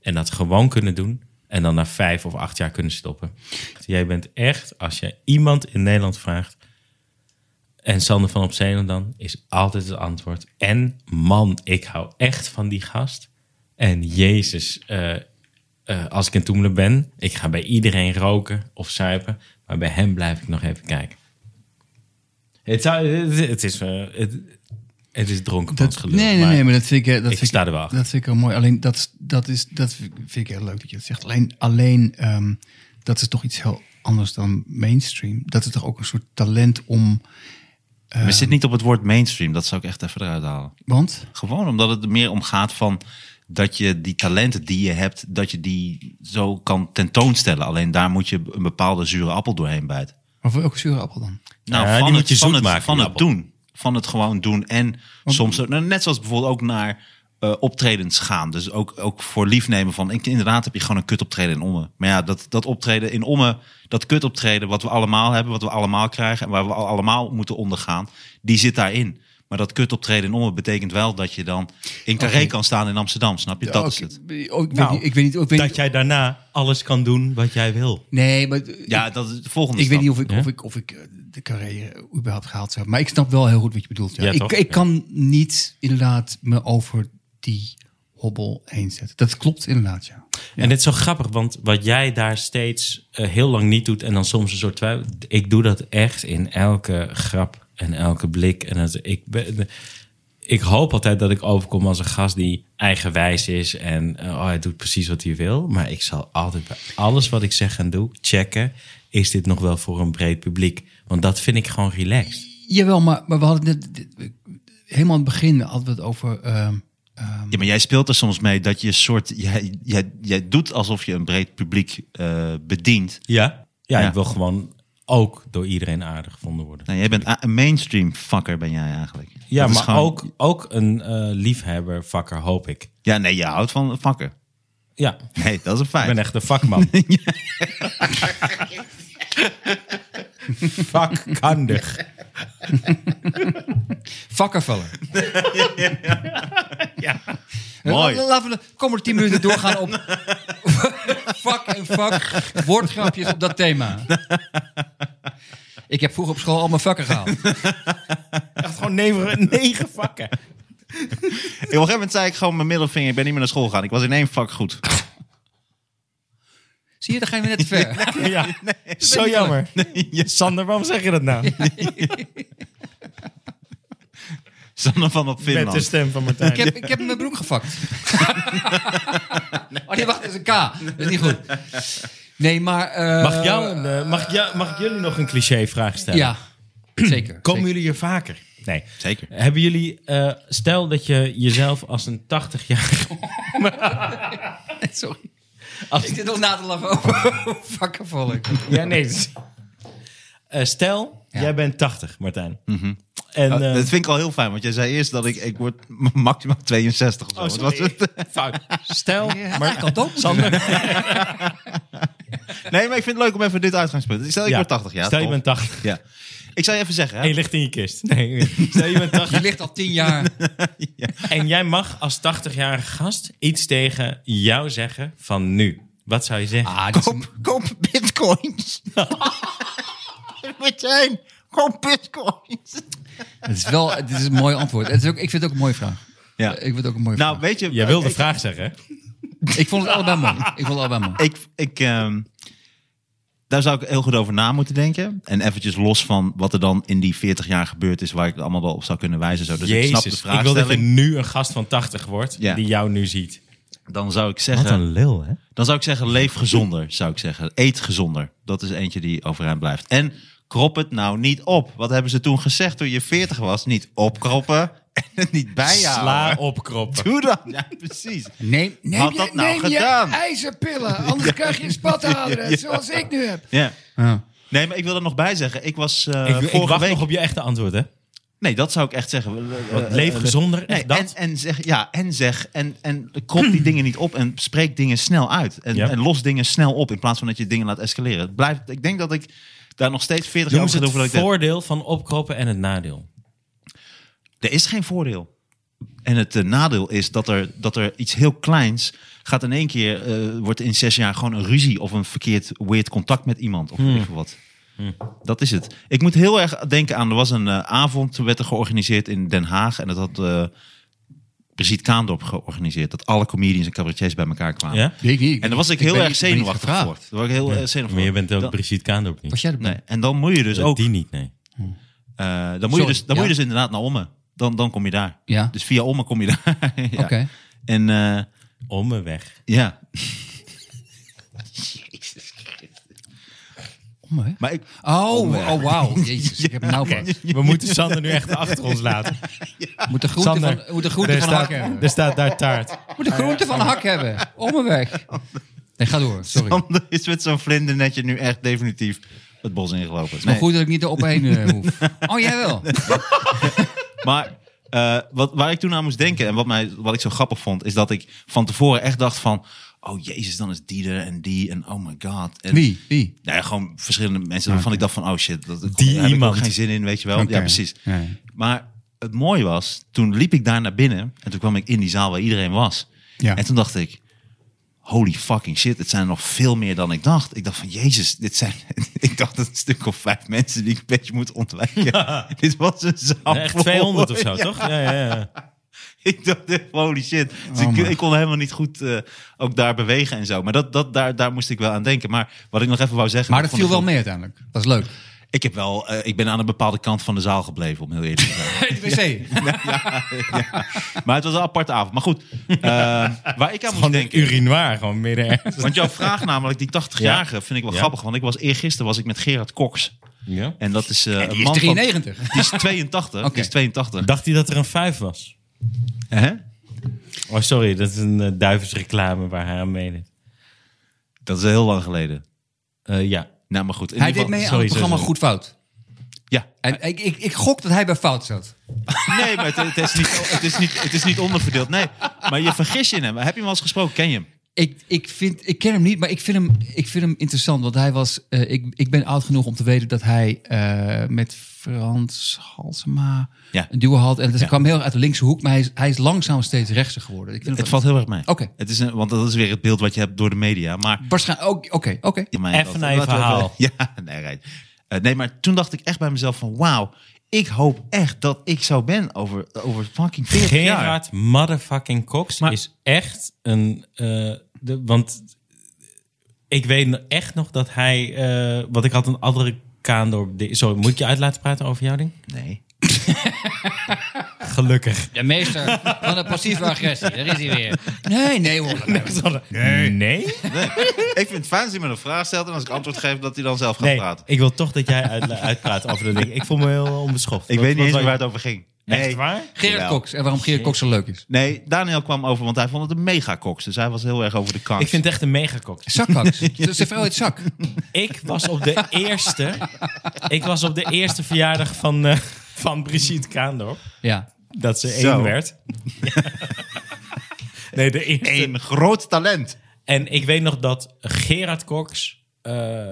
S4: en dat gewoon kunnen doen. En dan na vijf of acht jaar kunnen stoppen. Jij bent echt, als je iemand in Nederland vraagt, en Sander van Opzenen dan is altijd het antwoord. En man, ik hou echt van die gast. En Jezus, eh, eh, als ik in Toemelen ben, ik ga bij iedereen roken of zuipen. Maar bij hem blijf ik nog even kijken. Het, zou, het, het is, eh, het, het is dronkenmans gelul.
S2: nee, nee,
S4: maar-
S2: nee, maar dat vind ik, eh, dat
S4: ik
S2: vind
S4: sta er wel achter.
S2: Dat vind ik wel mooi. Alleen dat, is- dat, is, dat vind ik- vind ik heel leuk dat je het zegt. Alleen, alleen ehm, dat is toch iets heel anders dan mainstream. Dat is toch ook een soort talent om.
S1: maar zit niet op het woord mainstream. Dat zou ik echt even eruit halen.
S2: Want
S1: Gewoon omdat het er meer om gaat van dat je die talenten die je hebt, dat je die zo kan tentoonstellen. Alleen daar moet je een bepaalde zure appel doorheen bijten.
S2: of welke zure appel dan?
S1: Nou,
S4: Ja,
S1: van,
S4: die
S1: het,
S4: moet je
S1: van,
S4: zoet
S1: het,
S4: maken,
S1: van
S4: die
S1: het
S4: appel.
S1: doen. Van het gewoon doen. En soms, ook- nou, net zoals bijvoorbeeld ook naar eh, optredens gaan. Dus ook, ook voor liefnemen van, ik, inderdaad heb je gewoon een kut optreden in Ommen. Maar ja, dat, dat optreden in Ommen, dat kut optreden wat we allemaal hebben, wat we allemaal krijgen en waar we al- allemaal moeten ondergaan, die zit daarin. Maar dat kut optreden in Ommen betekent wel dat je dan in Carré
S2: Oké.
S1: kan staan in Amsterdam, snap je? Dat is
S2: Oké,
S1: het.
S2: oh, ik, weet
S4: Nou,
S2: niet, ik weet niet. Ik weet
S4: Dat
S2: niet
S4: jij daarna alles kan doen wat jij wil.
S2: nee, maar
S1: Ja, dat is de volgende
S2: Ik weet
S1: stap.
S2: niet of ik, of ik, of ik eh, de carrière überhaupt gehaald zou hebben. Maar ik snap wel heel goed wat je bedoelt. Ja.
S4: Ja,
S2: ik,
S4: toch?
S2: ik
S4: Ja.
S2: kan niet inderdaad me over die hobbel heen zetten. Dat klopt inderdaad, ja.
S4: En dit is zo grappig, want wat jij daar steeds eh, heel lang niet doet en dan soms een soort twijfel. Ik doe dat echt in elke grap en elke blik. En het- ik, ben, ik hoop altijd dat ik overkom als een gast die eigenwijs is en eh, oh, hij doet precies wat hij wil. Maar ik zal altijd bij alles wat ik zeg en doe checken: is dit nog wel voor een breed publiek? Want dat vind ik gewoon relaxed.
S2: Jawel, maar, maar we hadden het net... Helemaal aan het begin hadden we het over... ehm,
S1: Ja, maar jij speelt er soms mee dat je een soort... Jij, jij, jij doet alsof je een breed publiek eh, bedient.
S4: Ja? ja,
S1: Ja.
S4: ik wil gewoon ook door iedereen aardig gevonden worden.
S1: Nou, jij bent a- een mainstream fucker, ben jij eigenlijk.
S4: Ja,
S1: Dat is
S4: maar
S1: gewoon-
S4: ook, ook een eh, liefhebber, vakker, hoop ik.
S1: Ja, nee, je houdt van fucker.
S4: Ja,
S1: Nee, dat is een
S4: ik
S1: feit.
S4: ben echt een vakman. Vakkundig.
S2: Vakkervaller.
S1: Mooi.
S2: La- Laten we de komende tien minuten doorgaan op vak en vak. Woordgrapjes op dat thema. Ik heb vroeger op school al mijn vakken gehaald.
S4: Echt gewoon negen, negen vakken.
S1: Op een gegeven moment zei ik gewoon mijn middelvinger, ik ben niet meer naar school gegaan. Ik was in één vak goed.
S2: Zie je, daar gaan we net te ver.
S4: Ja, zo jammer. Sander, waarom zeg je dat nou?
S1: Sander van op
S3: Met de
S1: Finland.
S3: stem van Martijn.
S2: Ik heb, ik heb mijn broek gevakt. Oh nee, wacht, dat is een K. Dat is niet goed. Nee, maar... eh,
S4: Mag, ik jou een, eh, mag, ik jou- mag ik jullie nog een cliché-vraag stellen?
S2: Ja, zeker.
S4: Komen
S2: zeker.
S4: jullie hier vaker? Nee.
S1: Zeker.
S4: Hebben jullie, eh, stel dat je jezelf als een 80-jarige
S2: Sorry. Als ik dit nog na te lachen over vakkenvolk.
S4: Ja, nee. Eh, stel,
S2: Ja.
S4: jij bent 80, Martijn. En,
S1: Oh,
S4: eh,
S1: dat vind ik al heel fijn, want jij zei eerst dat ik, ik word m- maximaal 62
S4: Oh,
S1: of zo. Wat was het?
S4: fout. Stel,
S2: Maar ik had ook moeten
S1: Nee, maar ik vind het leuk om even dit uitgangspunt. Stel, ik
S4: Ja.
S1: word 80 jaar.
S4: Stel je
S1: tof.
S4: bent 80.
S1: Ja. Ik zal je even zeggen.
S4: En
S1: Hè?
S4: je ligt in je kist. Nee, stel je bent 80
S2: Je ligt al tien jaar.
S4: en jij mag als 80-jarige gast iets tegen jou zeggen van nu. Wat zou je zeggen?
S2: Ah, dat is een-
S5: Koop bitcoins. Meteen. Koop bitcoins.
S2: Het is wel, dit is een mooi antwoord. Het is ook, ik vind het ook een mooie vraag.
S1: Ja.
S2: Ik vind het ook een mooie
S1: Nou,
S2: vraag.
S1: weet je,
S4: Jij wilde vraag zeggen. hè?
S1: Dus
S2: Ik vond het allebei mooi. Ik vond het allebei mooi.
S1: ik, ik, ehm, daar zou ik heel goed over na moeten denken. En eventjes los van wat er dan in die 40 jaar gebeurd is, waar ik het allemaal wel op zou kunnen wijzen. Zo. Dus ik snap de
S4: Jezus, ik, wil dat je
S1: vraagstelling.
S4: nu een gast van 80 wordt
S1: Ja.
S4: die jou nu ziet.
S1: Dan zou ik zeggen,
S4: lul, hè?
S1: dan zou ik zeggen, leef gezonder, zou ik zeggen. Eet gezonder. Dat is eentje die overeind blijft. En krop het nou niet op. Wat hebben ze toen gezegd toen je 40 was? Niet opkroppen en het niet bijhouden.
S4: Sla op kroppen.
S1: Doe dan. Ja, precies.
S2: Neem, neem,
S1: Wat
S2: je,
S1: had dat nou
S2: neem je
S1: gedaan?
S2: ijzerpillen, anders krijg je een spataderen, zoals ik nu heb.
S1: Ja.
S2: Ja.
S1: Nee, maar ik wil er nog bij zeggen. Ik was eh,
S4: ik, ik
S1: vorige
S4: wacht
S1: week...
S4: nog op je echte antwoord, hè?
S1: Nee, dat zou ik echt zeggen. Eh,
S4: Want leef gezonder,
S1: Nee,
S4: echt dat.
S1: en, en zeg, ja, en zeg, en, en krop die dingen niet op en spreek dingen snel uit. En,
S4: Ja.
S1: en los dingen snel op in plaats van dat je dingen laat escaleren. Het Blijft, ik denk dat ik daar nog steeds 40 jaar
S4: Noem
S1: over
S4: ze
S1: ga doen
S4: het
S1: voordat ik denk,
S4: voordeel van opkroppen en het nadeel.
S1: er is geen voordeel. En het eh, nadeel is dat er, dat er iets heel kleins gaat in één keer, eh, wordt in zes jaar gewoon een ruzie of een verkeerd weird contact met iemand of weet ik veel wat. Dat is het. Ik moet heel erg denken aan, er was een eh, avond, toen werd er georganiseerd in Den Haag en dat had eh Brigitte Kaandorp georganiseerd. Dat alle comedians en cabaretiers bij elkaar kwamen.
S4: Ja?
S2: Ik niet.
S1: En daar was ik
S2: ben
S1: heel
S2: niet-
S1: erg
S2: ik ben niet
S1: zenuwachtig
S2: gevraagd.
S1: voor. Daar was ik heel eh, zenuwachtig
S4: Maar je
S1: voor.
S4: bent ook
S1: Dan-
S4: Brigitte Kaandorp niet.
S2: Was jij erbij?
S1: Nee, en dan moet je dus ook,
S4: Die niet, nee.
S1: eh, dan, moet je
S2: Sorry,
S1: dus, dan moet je
S2: ja.
S1: dus inderdaad naar Ommen. Dan, dan kom je daar.
S2: Ja,
S1: Dus via Ommen kom je daar. Ja.
S2: oké.
S1: En eh,
S4: Om me weg.
S1: ja,
S2: Om, hè?
S1: maar ik,
S2: Oh, oh wauw. Jezus, ik heb hem nou pas.
S4: We moeten Sander nu echt achter ons laten.
S2: Moet de groente
S4: Sander,
S2: van, moet de groente van hak hebben.
S4: er staat daar taart.
S2: Moet de groente van hak hebben. Om en weg. Nee, ga door. Sorry. Het
S1: Sander is met zo'n vlindernetje nu echt definitief het bos ingelopen.
S2: is maar
S1: Nee,
S2: goed dat ik niet erop heen eh, hoef. Oh, jij wel.
S1: Maar eh, wat, waar ik toen aan moest denken en wat, mij, wat ik zo grappig vond, is dat ik van tevoren echt dacht van, oh jezus, dan is die er en die en oh my god. En,
S2: Wie? Wie?
S1: Nou ja, gewoon verschillende mensen waarvan ik dacht van, oh shit, dat, dat,
S4: Die
S1: daar heb ik
S4: iemand.
S1: ook geen zin in, weet je wel.
S2: Oké.
S1: Ja, precies.
S2: Ja.
S1: Maar het mooie was, toen liep ik daar naar binnen en toen kwam ik in die zaal waar iedereen was.
S2: Ja.
S1: En toen dacht ik, holy fucking shit, het zijn er nog veel meer dan ik dacht. Ik dacht van, jezus, dit zijn, ik dacht dat het een stuk of vijf mensen die ik een beetje moet ontwijken. Dit was een zaal
S4: Echt
S1: vol.
S4: 200 of zo,
S1: Ja,
S4: toch? Ja, ja, ja.
S1: Ik dacht, echt, holy shit. Dus
S2: Oh
S1: ik, ik kon helemaal niet goed eh, ook daar bewegen en zo. Maar dat, dat, daar, daar moest ik wel aan denken. Maar wat ik nog even wou zeggen...
S2: Maar dat
S1: vond
S2: viel
S1: ik
S2: wel mee uiteindelijk. Dat is leuk.
S1: ik, heb wel, eh, ik ben aan een bepaalde kant van de zaal gebleven, om heel eerlijk te zijn.
S2: Hey, de wc.
S1: maar het was een aparte avond. Maar goed, eh, waar ik aan moest denken...
S4: eh, urinoir, gewoon midden ergens.
S1: Want jouw vraag namelijk, die 80-jarige, vind ik wel
S4: Ja.
S1: grappig. Want ik was eergisteren was ik met Gerard Koks.
S4: Ja.
S1: En dat is eh, een
S2: Die is
S1: man van...
S2: 93.
S1: Die is 82.
S2: Oké.
S1: Die is 82.
S4: Dacht hij dat er een vijf was?
S1: Hè?
S4: Oh, sorry, dat is een eh, duivelsreclame waar hij aan meedeed.
S1: Dat is heel lang geleden.
S4: Eh, ja.
S1: Nou, maar goed. in
S2: Hij
S1: ieder
S2: deed
S1: geval-
S2: mee aan
S4: sorry,
S2: het programma
S4: sorry.
S2: Goed Fout.
S1: Ja.
S2: En ik, ik, ik gok dat hij bij Fout zat.
S1: Nee, maar het, het is niet, het, is niet, het is niet onderverdeeld. Nee, maar je vergis je in hem. Heb je hem al eens gesproken? Ken je hem?
S2: Ik, ik, vind, ik ken hem niet, maar ik vind hem, ik vind hem interessant. Want hij was, eh, ik, ik ben oud genoeg om te weten dat hij eh, met Frans Halsema
S1: Ja.
S2: een duo had. En dat kwam heel erg uit de linkse hoek, maar hij is, hij is langzaam steeds rechtser geworden. Ik vind
S1: Het valt heel erg mee.
S2: Oké.
S1: Het is een, want dat is weer het beeld wat je hebt door de media. Maar
S2: Waarschijnlijk ook. Oké, oké.
S1: Ja, maar
S4: Even
S1: dat-
S4: naar je
S1: laten we
S4: verhaal.
S1: even- ja, nee, right. Eh, nee, maar toen dacht ik echt bij mezelf van... Wauw, ik hoop echt dat ik zo ben over, over fucking 40 jaar.
S4: Gerard motherfucking Cox
S1: Maar-
S4: is echt een... eh, de, want ik weet echt nog dat hij... eh, want ik had een andere Kaandorp... di- Sorry, moet ik je uit laten praten over jouw ding?
S1: Nee.
S4: Gelukkig.
S2: De meester van de passieve agressie. Daar is hij weer. Nee, nee hoor.
S4: Nee. Nee?
S1: ik vind het fijn als hij me een vraag stelt... en als ik antwoord geef, dat hij dan zelf gaat
S4: Nee,
S1: praten.
S4: ik wil toch dat jij uitla- uitpraat over dat ding. Ik voel me heel onbeschoft.
S1: Ik
S4: Wat-
S1: weet niet eens
S4: wat-
S1: meer waar het over ging. Nee.
S4: Echt waar?
S2: Gerard
S1: Jawel.
S2: Cox. En waarom Gerard Cox zo leuk is.
S1: Nee, Daniel kwam over, want hij vond het een mega koks. Dus hij was heel erg over de kant.
S4: Ik vind het echt een megacox.
S2: Zakcox. Dus Zijn vrouw heet Zak.
S4: Ik was op de eerste. Ik was op de eerste verjaardag van, eh, van Brigitte Kaandorp.
S2: Ja.
S4: Dat ze één
S1: Zo.
S4: werd. Nee, de eerste.
S1: een groot talent.
S4: En ik weet nog dat Gerard Cox eh,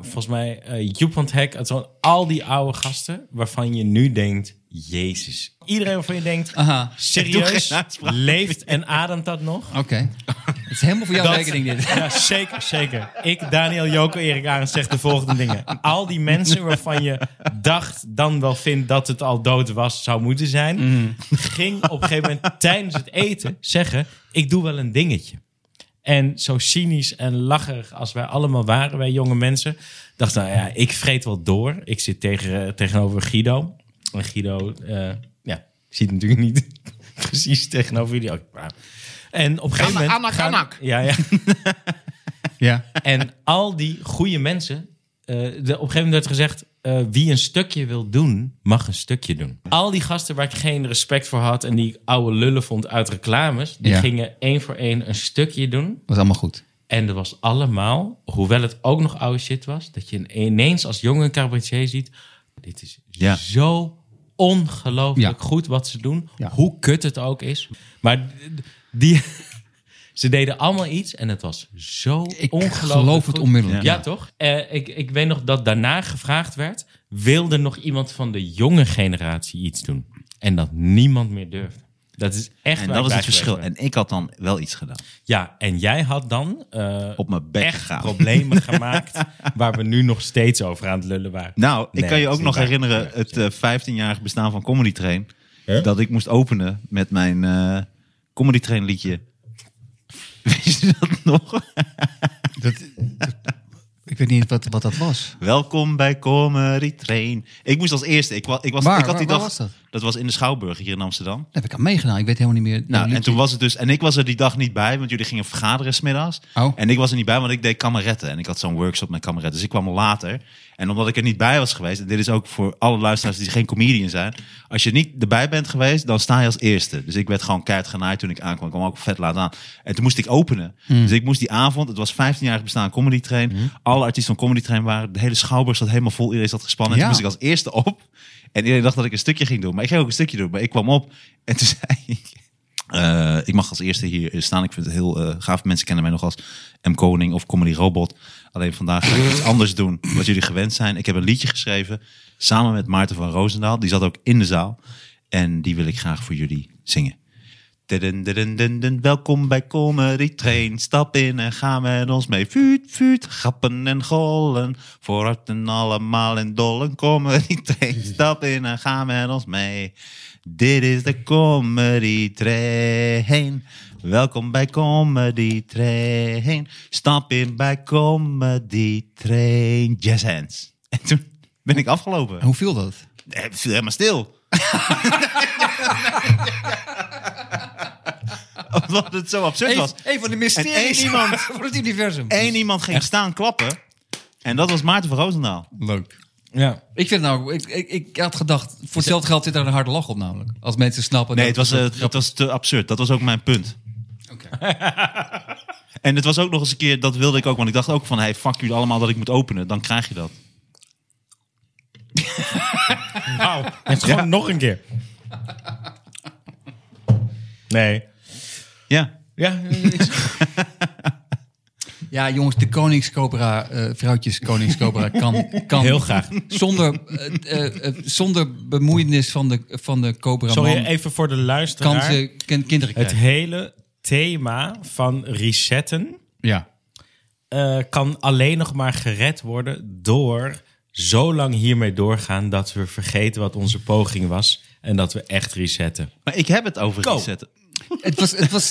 S4: volgens mij eh Joep van het Hek. Het zijn al die oude gasten waarvan je nu denkt, jezus. Iedereen waarvan je denkt,
S2: Aha,
S4: serieus, leeft en ademt dat nog?
S2: oké. Het is helemaal voor jouw
S4: Dat-
S2: rekening dit.
S4: Ja, zeker, zeker. Ik, Daniel Joko, Erik Arends zegt de volgende dingen. Al die mensen waarvan je dacht dan wel vindt dat het al dood was, zou moeten zijn, ging op een gegeven moment tijdens het eten zeggen, ik doe wel een dingetje. En zo cynisch en lacherig als wij allemaal waren, wij jonge mensen, dacht nou ja, ik vreet wel door. Ik zit tegen, eh, tegenover Guido. En Guido, eh ja, zit natuurlijk niet precies tegenover jullie. Ook, maar- En op een gegeven moment...
S5: Anak,
S4: gaan-
S5: anak.
S4: Ja, ja.
S2: Ja.
S4: En al die goede mensen. eh, de, op een gegeven moment werd gezegd: eh, wie een stukje wil doen, mag een stukje doen. Al die gasten waar ik geen respect voor had en die ik oude lullen vond uit reclames, die
S2: Ja.
S4: gingen één voor één een stukje doen.
S2: Was allemaal goed.
S4: En dat was allemaal, hoewel het ook nog oude shit was, dat je ineens als jonge cabaretier ziet: dit is
S1: Ja.
S4: zo ongelooflijk
S2: Ja.
S4: goed wat ze doen,
S2: Ja.
S4: hoe kut het ook is. Maar d- d- die, ze deden allemaal iets en het was zo
S2: Ik
S4: ongelooflijk.
S2: geloof het
S4: goed.
S2: onmiddellijk.
S4: Ja, toch? Eh, ik, ik weet nog dat daarna gevraagd werd: wilde nog iemand van de jonge generatie iets doen? En dat niemand meer durfde. Dat is echt
S1: En dat
S4: waar ik
S1: is
S4: bij
S1: het verschil.
S4: geweest ben.
S1: En ik had dan wel iets gedaan.
S4: Ja, en jij had dan eh,
S1: Op mijn bek
S4: echt
S1: gegaan.
S4: problemen gemaakt waar we nu nog steeds over aan het lullen waren.
S1: Nou, ik
S4: Nee,
S1: kan je
S4: dat is
S1: ook
S4: niet
S1: nog
S4: waar.
S1: herinneren
S4: Ja,
S1: het eh, 15-jarig bestaan van Comedy Train. Dat ik moest openen met mijn eh Comedy Train liedje. Weet je dat nog?
S2: Ik weet niet wat, wat dat was.
S1: Welkom bij Comedy Train. Ik moest als eerste. Ik, wa- ik, was,
S2: Waar?
S1: ik had
S2: Waar-
S1: die
S2: waar
S1: dag,
S2: was dat?
S1: was in de Schouwburg hier in Amsterdam.
S2: Daar heb ik aan meegedaan. Ik weet helemaal niet meer.
S1: Nou, en
S2: liedje.
S1: toen was het dus. En ik was er die dag niet bij, want jullie gingen vergaderen smiddags.
S2: Oh.
S1: En ik was er niet bij, want ik deed kameretten. En ik had zo'n workshop met kameretten. Dus ik kwam later. En omdat ik er niet bij was geweest. En dit is ook voor alle luisteraars die geen comedian zijn. Als je niet erbij bent geweest, dan sta je als eerste. Dus ik werd gewoon keihard genaaid toen ik aankwam. Ik kwam ook vet laat aan. En toen moest ik openen. Dus ik moest die avond. Het was 15-jarig bestaan Comedy Train. Alle artiesten van Comedy Train waren. De hele schouwburg zat helemaal vol. Iedereen zat gespannen. En
S2: Ja.
S1: toen moest ik als eerste op. En iedereen dacht dat ik een stukje ging doen. Maar ik ging ook een stukje doen. Maar ik kwam op. En toen zei ik. Eh, ik mag als eerste hier eh, staan. Ik vind het heel eh, gaaf. Mensen kennen mij nog als M. Koning of Comedy Robot. Alleen vandaag ga ik iets anders doen wat jullie gewend zijn. Ik heb een liedje geschreven samen met Maarten van Roosendaal. Die zat ook in de zaal. En die wil ik graag voor jullie zingen. Dun, dun, dun, dun. Welkom bij Comedy Train. Stap in en ga met ons mee. Vuut, vuut, grappen en gollen. Vooruit en allemaal in dollen. Comedy Train. Stap in en ga met ons mee. Dit is de Comedy Train. Welkom bij Comedy Train. Stap in bij Comedy Train. Jazz hands. En toen ben ik afgelopen.
S2: Hoe viel dat?
S1: Nee, het viel helemaal stil. Omdat het zo absurd was.
S2: Een van de
S1: En één iemand-
S2: van het universum.
S1: Eén iemand ging staan klappen. En dat was Maarten van Roosendaal.
S2: Leuk.
S1: eh,
S4: Ja.
S2: Ik vind het nou, ik, ik, ik had gedacht, voor hetzelfde geld zit daar een harde lach op namelijk. Als mensen snappen.
S1: Nee, het
S2: dat
S1: was,
S2: het-
S1: eh, het was te absurd. Dat was ook mijn punt. En het was ook nog eens een keer, dat wilde ik ook. Want ik dacht ook van, hey, fuck jullie allemaal dat ik moet openen. Dan krijg je dat.
S4: Wauw, het gewoon nog een keer. Nee.
S1: Ja.
S4: Ja,
S2: Ja, jongens, de Koningscobra, eh vrouwtjes Koningscobra kan, kan
S4: heel graag.
S2: zonder, eh, eh, eh, zonder bemoeienis van de, van de Cobra
S4: Sorry,
S2: man
S4: even voor de
S2: kan
S4: luisteraar.
S2: ze kin- kinderen
S4: Het
S2: krijgen.
S4: hele thema van resetten
S2: ja.
S4: eh, kan alleen nog maar gered worden door zo lang hiermee doorgaan dat we vergeten wat onze poging was en dat we echt resetten.
S1: Maar ik heb het over
S4: Go.
S1: resetten.
S2: Het was, het was,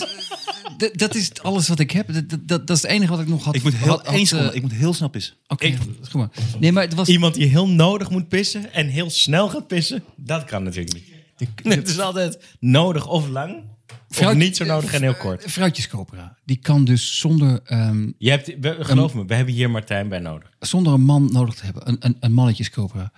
S2: d- dat is het alles wat ik heb. Dat, dat, dat is het enige wat ik nog had.
S1: Ik moet heel,
S2: had- had,
S1: één
S2: eh,
S1: seconde, ik moet heel snel pissen.
S2: Oké, goed maar. Nee, maar het was...
S4: Iemand die heel nodig moet pissen en heel snel gaat pissen, dat kan natuurlijk niet. Het is altijd nodig of lang, of
S2: Vrouwt-
S4: niet zo nodig en heel kort.
S2: Vrouwtjescobra, eh, die kan dus zonder, ehm,
S4: Je hebt, we- geloof me, we hebben hier Martijn bij nodig.
S2: zonder een man nodig te hebben, een, een, een mannetjescobra,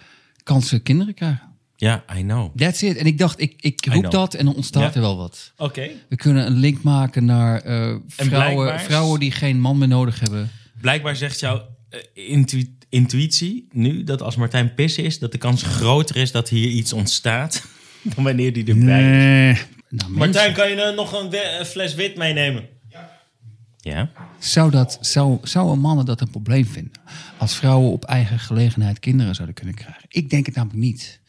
S2: kan ze kinderen krijgen.
S4: Ja, I know.
S2: That's it. En ik dacht, ik, ik roep
S4: know.
S2: dat en dan ontstaat
S4: Ja.
S2: er wel wat.
S4: Oké.
S2: We kunnen een link maken naar eh, vrouwen,
S4: blijkbaar-
S2: vrouwen die geen man meer nodig hebben.
S4: Blijkbaar zegt jouw eh, intu- intuïtie nu dat als Martijn pissen is, dat de kans groter is dat hier iets ontstaat dan wanneer die erbij is.
S2: Nou, mensen.
S4: Martijn, kan je nou nog een we- een fles wit meenemen? Ja. Ja.
S2: Zou dat, zou, zouden mannen dat een probleem vinden? Als vrouwen op eigen gelegenheid kinderen zouden kunnen krijgen? Ik denk het namelijk niet.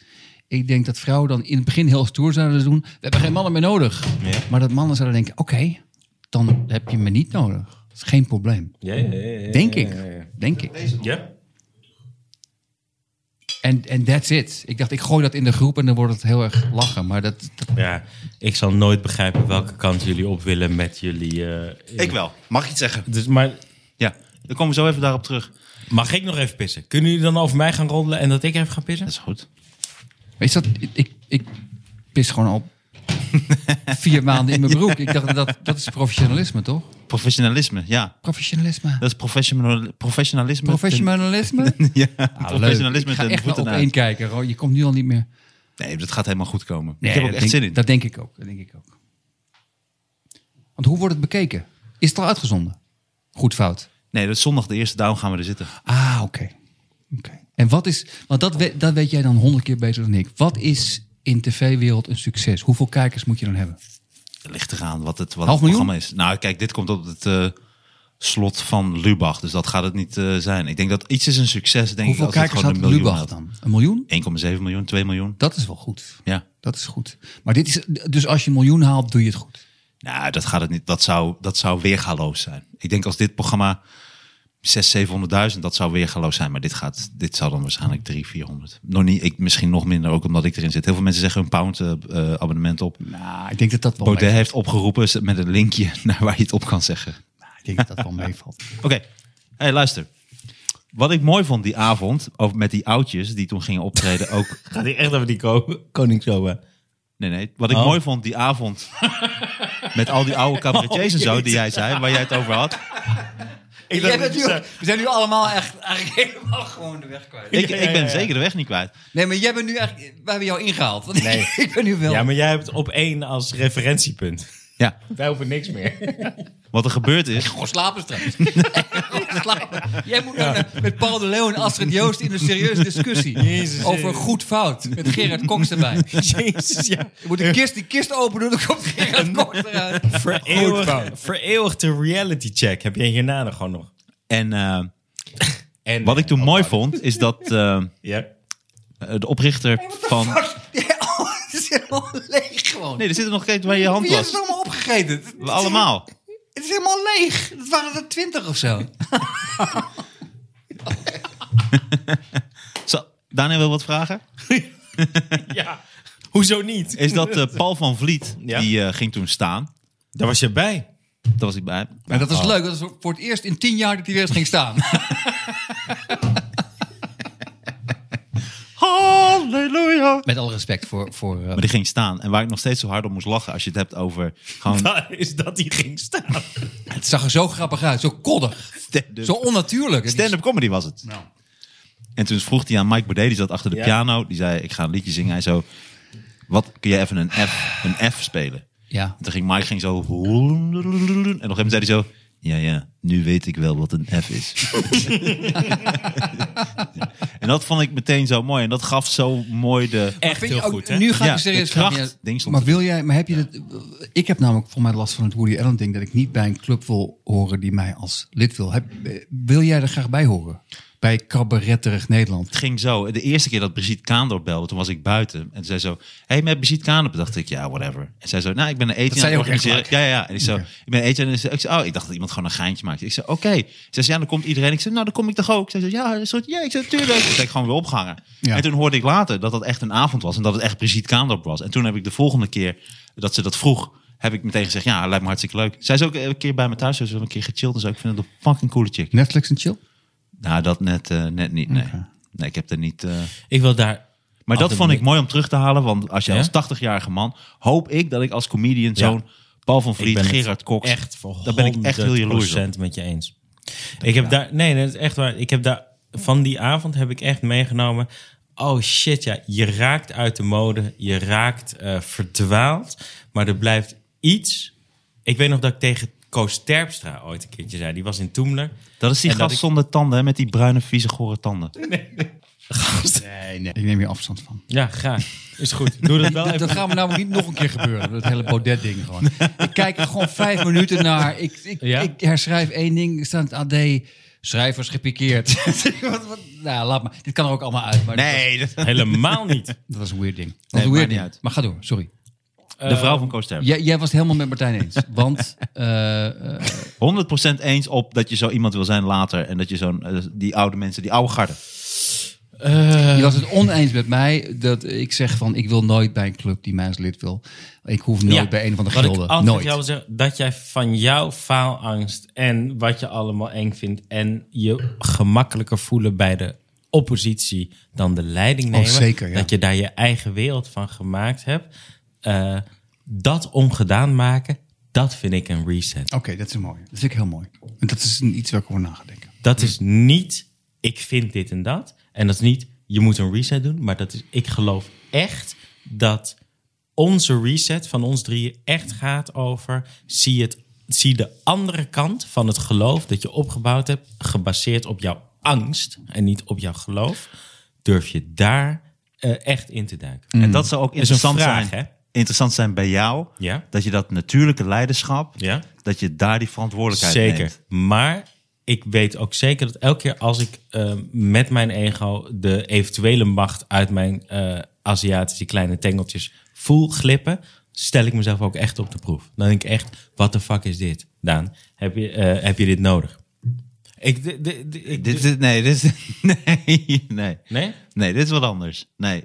S2: Ik denk dat vrouwen dan in het begin heel stoer zouden doen. We hebben geen mannen meer nodig. Maar dat mannen zouden denken, oké, dan heb je me niet nodig. Dat is geen probleem.
S4: Ja, ja, ja, ja,
S2: Denk
S4: ja,
S2: ik.
S4: ja, ja.
S2: Denk ik.
S4: Ja?
S2: En en that's it. Ik dacht, ik gooi dat in de groep en dan wordt het heel erg lachen. Maar dat, dat-
S4: Ja, ik zal nooit begrijpen welke kant jullie op willen met jullie... eh,
S1: Ik wel. Mag ik iets zeggen?
S4: Dus, maar
S1: Ja. Dan komen we zo even daarop terug.
S4: mag ik nog even pissen? Kunnen jullie dan over mij gaan roddelen en dat ik even ga pissen?
S1: Dat is goed.
S2: Weet je dat? Ik, ik, ik pis gewoon al vier maanden in mijn broek. Ik dacht, dat, dat is professionalisme, toch?
S1: Professionalisme, ja.
S2: Professionalisme.
S1: Dat is professional, professionalisme.
S2: Professionalisme?
S1: Ja,
S2: Ik
S1: professionalisme
S2: ga
S1: ten
S2: echt wel
S1: voeten
S2: op
S1: uit.
S2: één kijken. Ro. Je komt nu al niet meer.
S1: Nee, dat gaat helemaal goed komen. ik heb er
S2: dat
S1: ook echt
S2: denk-
S1: zin in.
S2: Dat denk ik ook. Dat denk ik ook. Want hoe wordt het bekeken? Is het al uitgezonden? Goed fout.
S1: Nee, dat is zondag de eerste down gaan we er zitten.
S2: Ah, oké. Oké. En wat is, want dat, we- dat weet jij dan honderd keer beter dan ik. Wat is in tv-wereld een succes? Hoeveel kijkers moet je dan hebben?
S1: Het ligt eraan wat het, wat
S2: Half
S1: het
S2: miljoen?
S1: programma is. Nou, kijk, dit komt op het eh, slot van Lubach. Dus dat gaat het niet eh, zijn. Ik denk dat iets is een succes. Denk
S2: Hoeveel
S1: ik, als het
S2: kijkers had
S1: gewoon een miljoen
S2: Lubach dan? Een miljoen?
S1: 1,7 miljoen, 2 miljoen.
S2: Dat is wel goed.
S1: Ja.
S2: Dat is goed. Maar dit is, dus als je een miljoen haalt, doe je het goed.
S1: Nou, dat gaat het niet. Dat zou, dat zou weergaloos zijn. Ik denk als dit programma 600, 700.000, dat zou weergaloos zijn. Maar dit, gaat, dit zou dan waarschijnlijk 300, 400. Nog niet, ik, misschien nog minder, ook omdat ik erin zit. Heel veel mensen zeggen hun pound eh, eh, abonnement op.
S2: Nou, ik denk dat dat wel
S1: Baudet
S2: meevalt.
S1: heeft opgeroepen ze- met een linkje naar waar je het op kan zeggen.
S2: Ik denk dat dat wel meevalt.
S1: Oké, hey, luister. Wat ik mooi vond die avond, over met die oudjes die toen gingen optreden ook...
S4: Gaat hij echt over die ko- koningszomer?
S1: Nee, nee. Wat ik
S4: Oh.
S1: mooi vond die avond met al die oude cabaretiers en zo die jij zei, waar jij het over had.
S4: Ik dacht dat je zei-
S2: we zijn nu allemaal echt eigenlijk helemaal gewoon de weg kwijt.
S1: Ik, ik ben zeker de weg niet kwijt.
S2: Nee, maar jij bent nu echt, we hebben jou ingehaald. Nee. ik ben nu wel.
S4: Ja, maar jij hebt op één als referentiepunt.
S1: Ja,
S4: Wij hoeven niks meer.
S1: wat er gebeurd is...
S2: Gewoon slapen straks. Gewoon slapen. Jij moet nou naar- met Paul de Leeuw en Astrid Joost in een serieuze discussie.
S4: Jezus,
S2: over
S4: Jezus.
S2: goed fout. Met Gerard Koks erbij.
S4: Jezus, ja.
S2: Je moet de kist, die kist open doen, dan komt Gerard Koks eruit.
S4: Vereeuwig, vereeuwigde reality check heb je hierna nog gewoon nog.
S1: En eh,
S4: En,
S1: wat ik toen mooi vond, is dat eh,
S4: Ja.
S1: de oprichter van...
S2: Ja, oh, het is helemaal leeg gewoon.
S1: Nee, er zit er nog kijk waar je hand
S2: Wie heeft
S1: was.
S2: het allemaal opgegeten? Het is-
S1: Allemaal.
S2: Het is helemaal leeg. Het waren er twintig of zo.
S1: Zo, Daniel wil wat vragen?
S4: ja. Hoezo niet?
S1: Is dat eh, Paul van Vliet,
S4: Ja.
S1: die eh, ging toen staan.
S4: Daar was je bij.
S1: Daar was ik bij.
S2: Maar dat is leuk. Dat is voor het eerst in tien jaar dat hij weer eens ging staan.
S1: Halleluja!
S2: Met alle respect voor... voor eh,
S1: Maar die ging staan. En waar ik nog steeds zo hard om moest lachen als je het hebt over gewoon
S4: Daar is dat hij ging staan.
S2: het zag er zo grappig uit. Zo koddig.
S1: stand-up.
S2: Zo onnatuurlijk.
S1: Stand-up comedy was het.
S2: Nou.
S1: En toen vroeg hij aan Mike Baudet, die zat achter de
S4: Ja.
S1: piano. Die zei, ik ga een liedje zingen. Hij zo, wat kun je even een F, een F spelen?
S2: Ja.
S1: En toen ging Mike ging zo... En op een gegeven moment zei hij zo... Ja, ja, nu weet ik wel wat een F is. en dat vond ik meteen zo mooi. En dat gaf zo mooi de...
S4: Echt
S2: Vind
S4: heel
S2: je ook-
S4: goed, hè?
S2: Nu ga
S1: Ja,
S2: ik serieus
S1: de kracht-
S2: vragen, ja,
S1: ding stond
S2: Maar
S1: er.
S2: wil jij, maar heb je dat? Ik heb namelijk voor mij last van het Woody Allen ding dat ik niet bij een club wil horen die mij als lid wil. Heb, eh, wil jij er graag bij horen? Bij cabaretterig Nederland.
S1: het ging zo. De eerste keer dat Brigitte Kaan doorbelde, toen was ik buiten. En zei zo, hey, met Brigitte Kaan op. dacht ik, ja, whatever. En zij zo, nou, ik ben een eten
S2: zei
S1: aan
S2: je
S1: het
S2: ook echt
S1: organiseren. Ja, ja, ja. En ik zo, ik ben een eten aan het organiseren. Ik zei, oh, ik dacht dat iemand gewoon een geintje maakte. Ik zei, oké. Zij zei, ja, dan komt iedereen. Ik zei, nou, dan kom ik toch ook. Zij zei, ja, een soort, ja, ik zei, tuurlijk. Toen ben ik gewoon weer opgehangen.
S2: Ja.
S1: En toen hoorde ik later dat dat echt een avond was. En dat het echt Brigitte Kaandorp was. En toen heb ik de volgende keer dat ze dat vroeg... Heb ik meteen gezegd, ja, lijkt me hartstikke leuk. Zij is ook eh, een keer bij me thuis, ze is wel een keer gechilled en zo. Ik vind het een fucking coole chick.
S2: Netflix en chill.
S1: Nou, dat net, eh, net niet, nee. Nee, ik heb er niet... eh,
S4: Ik wil daar...
S1: maar dat
S4: Altijd
S1: vond ik
S4: leuk.
S1: mooi om terug te halen. Want als je
S4: Ja?
S1: als 80-jarige man... hoop ik dat ik als comedian zo'n Paul van
S4: Ik
S1: Vliet,
S4: ben het
S1: Gerard Cox...
S4: Echt voor
S1: daar ben ik echt heel jaloers op.
S4: 100% met je eens. ik heb daar, nee, dat is echt waar. Ik heb daar, van die avond heb ik echt meegenomen. Oh shit, ja, je raakt uit de mode. Je raakt eh, verdwaald. Maar er blijft iets. Ik weet nog dat ik tegen Koos Terpstra ooit een keertje zei. Die was in Toemler.
S1: Dat is die
S4: En dat
S1: gast
S4: ik-
S1: zonder tanden, hè, met die bruine, vieze, gore tanden.
S4: gast.
S2: Nee, nee. Ik neem hier afstand van.
S4: Ja, graag. Is goed. Doe dat wel
S2: Dat,
S4: even.
S2: dat gaan we namelijk niet nog een keer gebeuren. Dat hele Baudet-ding gewoon. Ik kijk er gewoon vijf minuten naar. Ik, ik,
S4: Ja?
S2: ik herschrijf één ding. Er staat AD. Schrijvers gepikeerd. Wat- wat- nou, laat maar. Dit kan er ook allemaal uit. Maar
S1: Nee, dat-
S4: Helemaal niet.
S2: dat, was een weird ding. Dat was
S1: Nee,
S2: een
S1: maakt
S2: weird
S1: niet
S2: ding.
S1: uit.
S2: Maar ga door, sorry.
S1: de
S4: Eh,
S1: vrouw van Koos Terp.
S2: Jij, jij was het helemaal met Martijn eens. Want eh, eh,
S1: 100% eens op dat je zo iemand wil zijn later. En dat je zo'n, eh, die oude mensen, die oude garden.
S2: je was het oneens met mij dat ik zeg van... ik wil nooit bij een club die mij als lid wil. Ik hoef nooit
S4: Ja,
S2: bij een van de
S4: wat ik
S2: gilden.
S4: altijd
S2: Nooit.
S4: jou wil zeggen, dat jij van jouw faalangst en wat je allemaal eng vindt... en je gemakkelijker voelen bij de oppositie dan de leiding nemen...
S2: Oh, zeker, ja.
S4: dat je daar je eigen wereld van gemaakt hebt. eh, dat ongedaan maken, dat vind ik een reset.
S2: Oké, dat is mooi. Dat vind ik heel mooi. En dat is iets waar ik over na ga denken.
S4: Dat is niet, ik vind dit en dat. En dat is niet, je moet een reset doen. Maar dat is, ik geloof echt dat onze reset van ons drieën echt gaat over... zie, het, zie de andere kant van het geloof dat je opgebouwd hebt... gebaseerd op jouw angst en niet op jouw geloof. Durf je daar eh, echt in te duiken.
S1: En dat zou ook
S4: Hmm. is een
S1: interessant,
S4: vraag,
S1: zijn,
S4: hè?
S1: interessant zijn bij jou.
S4: Ja.
S1: Dat je dat natuurlijke leiderschap,
S4: Ja.
S1: dat je daar die verantwoordelijkheid
S4: Zeker.
S1: neemt.
S4: Maar ik weet ook zeker dat elke keer als ik eh, met mijn ego de eventuele macht uit mijn eh, Aziatische kleine tengeltjes voel glippen, stel ik mezelf ook echt op de proef. Dan denk ik echt, wat de fuck is dit, Daan? Heb je, eh, heb je dit nodig? Ik, d- d- d- ik-
S1: Dit, dit, nee, dit is, nee, nee.
S4: nee?
S1: Nee, dit is wat anders. Nee.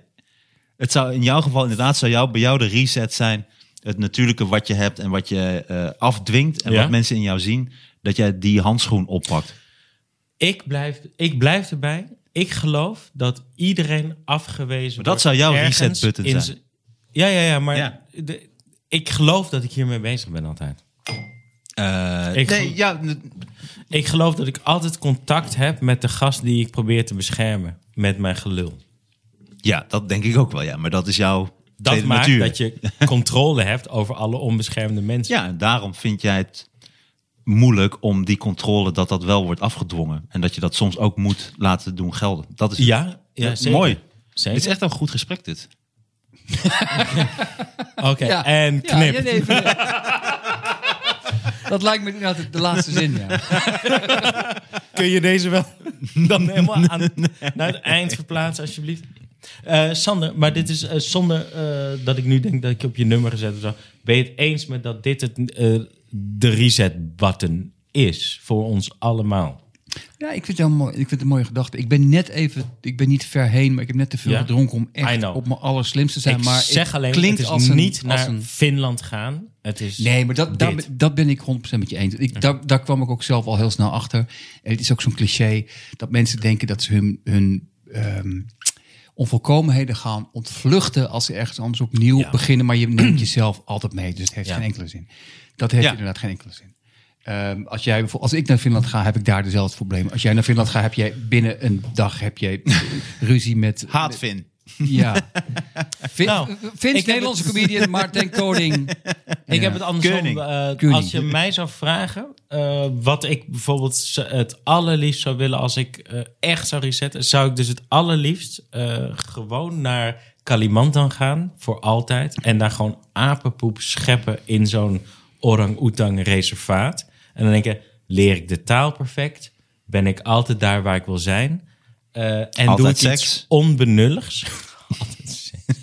S1: Het zou in jouw geval inderdaad, zou jou, bij jou de reset zijn. Het natuurlijke wat je hebt en wat je eh, afdwingt. En
S4: Ja.
S1: wat mensen in jou zien. Dat jij die handschoen oppakt.
S4: Ik, blijf, ik blijf erbij. Ik geloof dat iedereen afgewezen
S1: dat
S4: wordt
S1: zou jouw
S4: ergens
S1: reset button
S4: in
S1: zijn.
S4: z'n- Ja, ja, ja, maar
S1: Ja.
S4: de- ik geloof dat ik hiermee bezig ben altijd. Eh, Ik-
S1: nee, ja, n-
S4: Ik geloof dat ik altijd contact heb met de gast die ik probeer te beschermen. Met mijn gelul.
S1: ja, dat denk ik ook wel. Ja. Maar dat is jouw
S4: Dat
S1: tweede
S4: maakt
S1: natuur.
S4: dat je controle hebt over alle onbeschermde mensen.
S1: Ja, en daarom vind jij het moeilijk om die controle dat dat wel wordt afgedwongen. En dat je dat soms ook moet laten doen gelden. Dat is
S4: ja, ja,
S1: Ja,
S4: zeker.
S1: mooi. Het
S4: Zeker.
S1: is echt een goed gesprek dit.
S4: Oké,
S2: Ja.
S4: en
S2: Ja,
S4: knip.
S2: ja, nee, even- dat lijkt me inderdaad de- de laatste zin. Ja.
S4: Kun je deze wel dan helemaal aan, naar het eind verplaatsen, alsjeblieft? Eh, Sander, maar dit is eh, zonder eh, dat ik nu denk dat ik je op je nummer gezet of zo. Ben je het eens met dat dit het, eh, de reset-button is voor ons allemaal?
S2: Ja, ik vind het heel mooi. Ik vind het een mooie gedachte. Ik ben net even, ik ben niet ver heen, maar ik heb net te veel
S4: Ja.
S2: gedronken om
S4: I
S2: echt
S4: know.
S2: op mijn allerslimste te zijn.
S4: ik
S2: maar
S4: zeg alleen,
S2: klinkt
S4: het is
S2: als een-
S4: niet
S2: als
S4: naar
S2: een-
S4: Finland gaan. Het is
S2: Nee, maar dat, daar,
S4: dit.
S2: dat ben ik 100% met je eens. Ik, daar, daar kwam ik ook zelf al heel snel achter. En het is ook zo'n cliché dat mensen denken dat ze hun, hun ehm, onvolkomenheden gaan ontvluchten als ze ergens anders opnieuw
S4: Ja.
S2: beginnen. Maar je neemt jezelf altijd mee, dus het heeft
S4: Ja.
S2: geen enkele zin. Dat heeft
S1: Ja.
S2: inderdaad geen enkele zin. Ehm, als, jij, bijvoorbeeld- als ik naar Finland ga, heb ik daar dezelfde problemen. Als jij naar Finland gaat, heb jij binnen een dag heb jij ruzie met...
S1: Haatvin.
S2: Ja. Vin,
S4: Nou, ik
S2: Vince,
S4: heb
S2: Nederlandse
S4: het-
S2: comedian Maarten Koning.
S4: Ik heb het andersom.
S1: Keuning.
S4: eh,
S2: Keuning.
S4: als je mij zou vragen eh, wat ik bijvoorbeeld z- het allerliefst zou willen als ik eh, echt zou resetten, zou ik dus het allerliefst eh, gewoon naar Kalimantan gaan voor altijd en daar gewoon apenpoep scheppen in zo'n orang-oetang reservaat. En dan denk ik, leer ik de taal perfect? Ben ik altijd daar waar ik wil zijn? Eh, en doe ik
S1: Altijd
S4: iets
S1: seks?
S4: onbenulligs? altijd seks.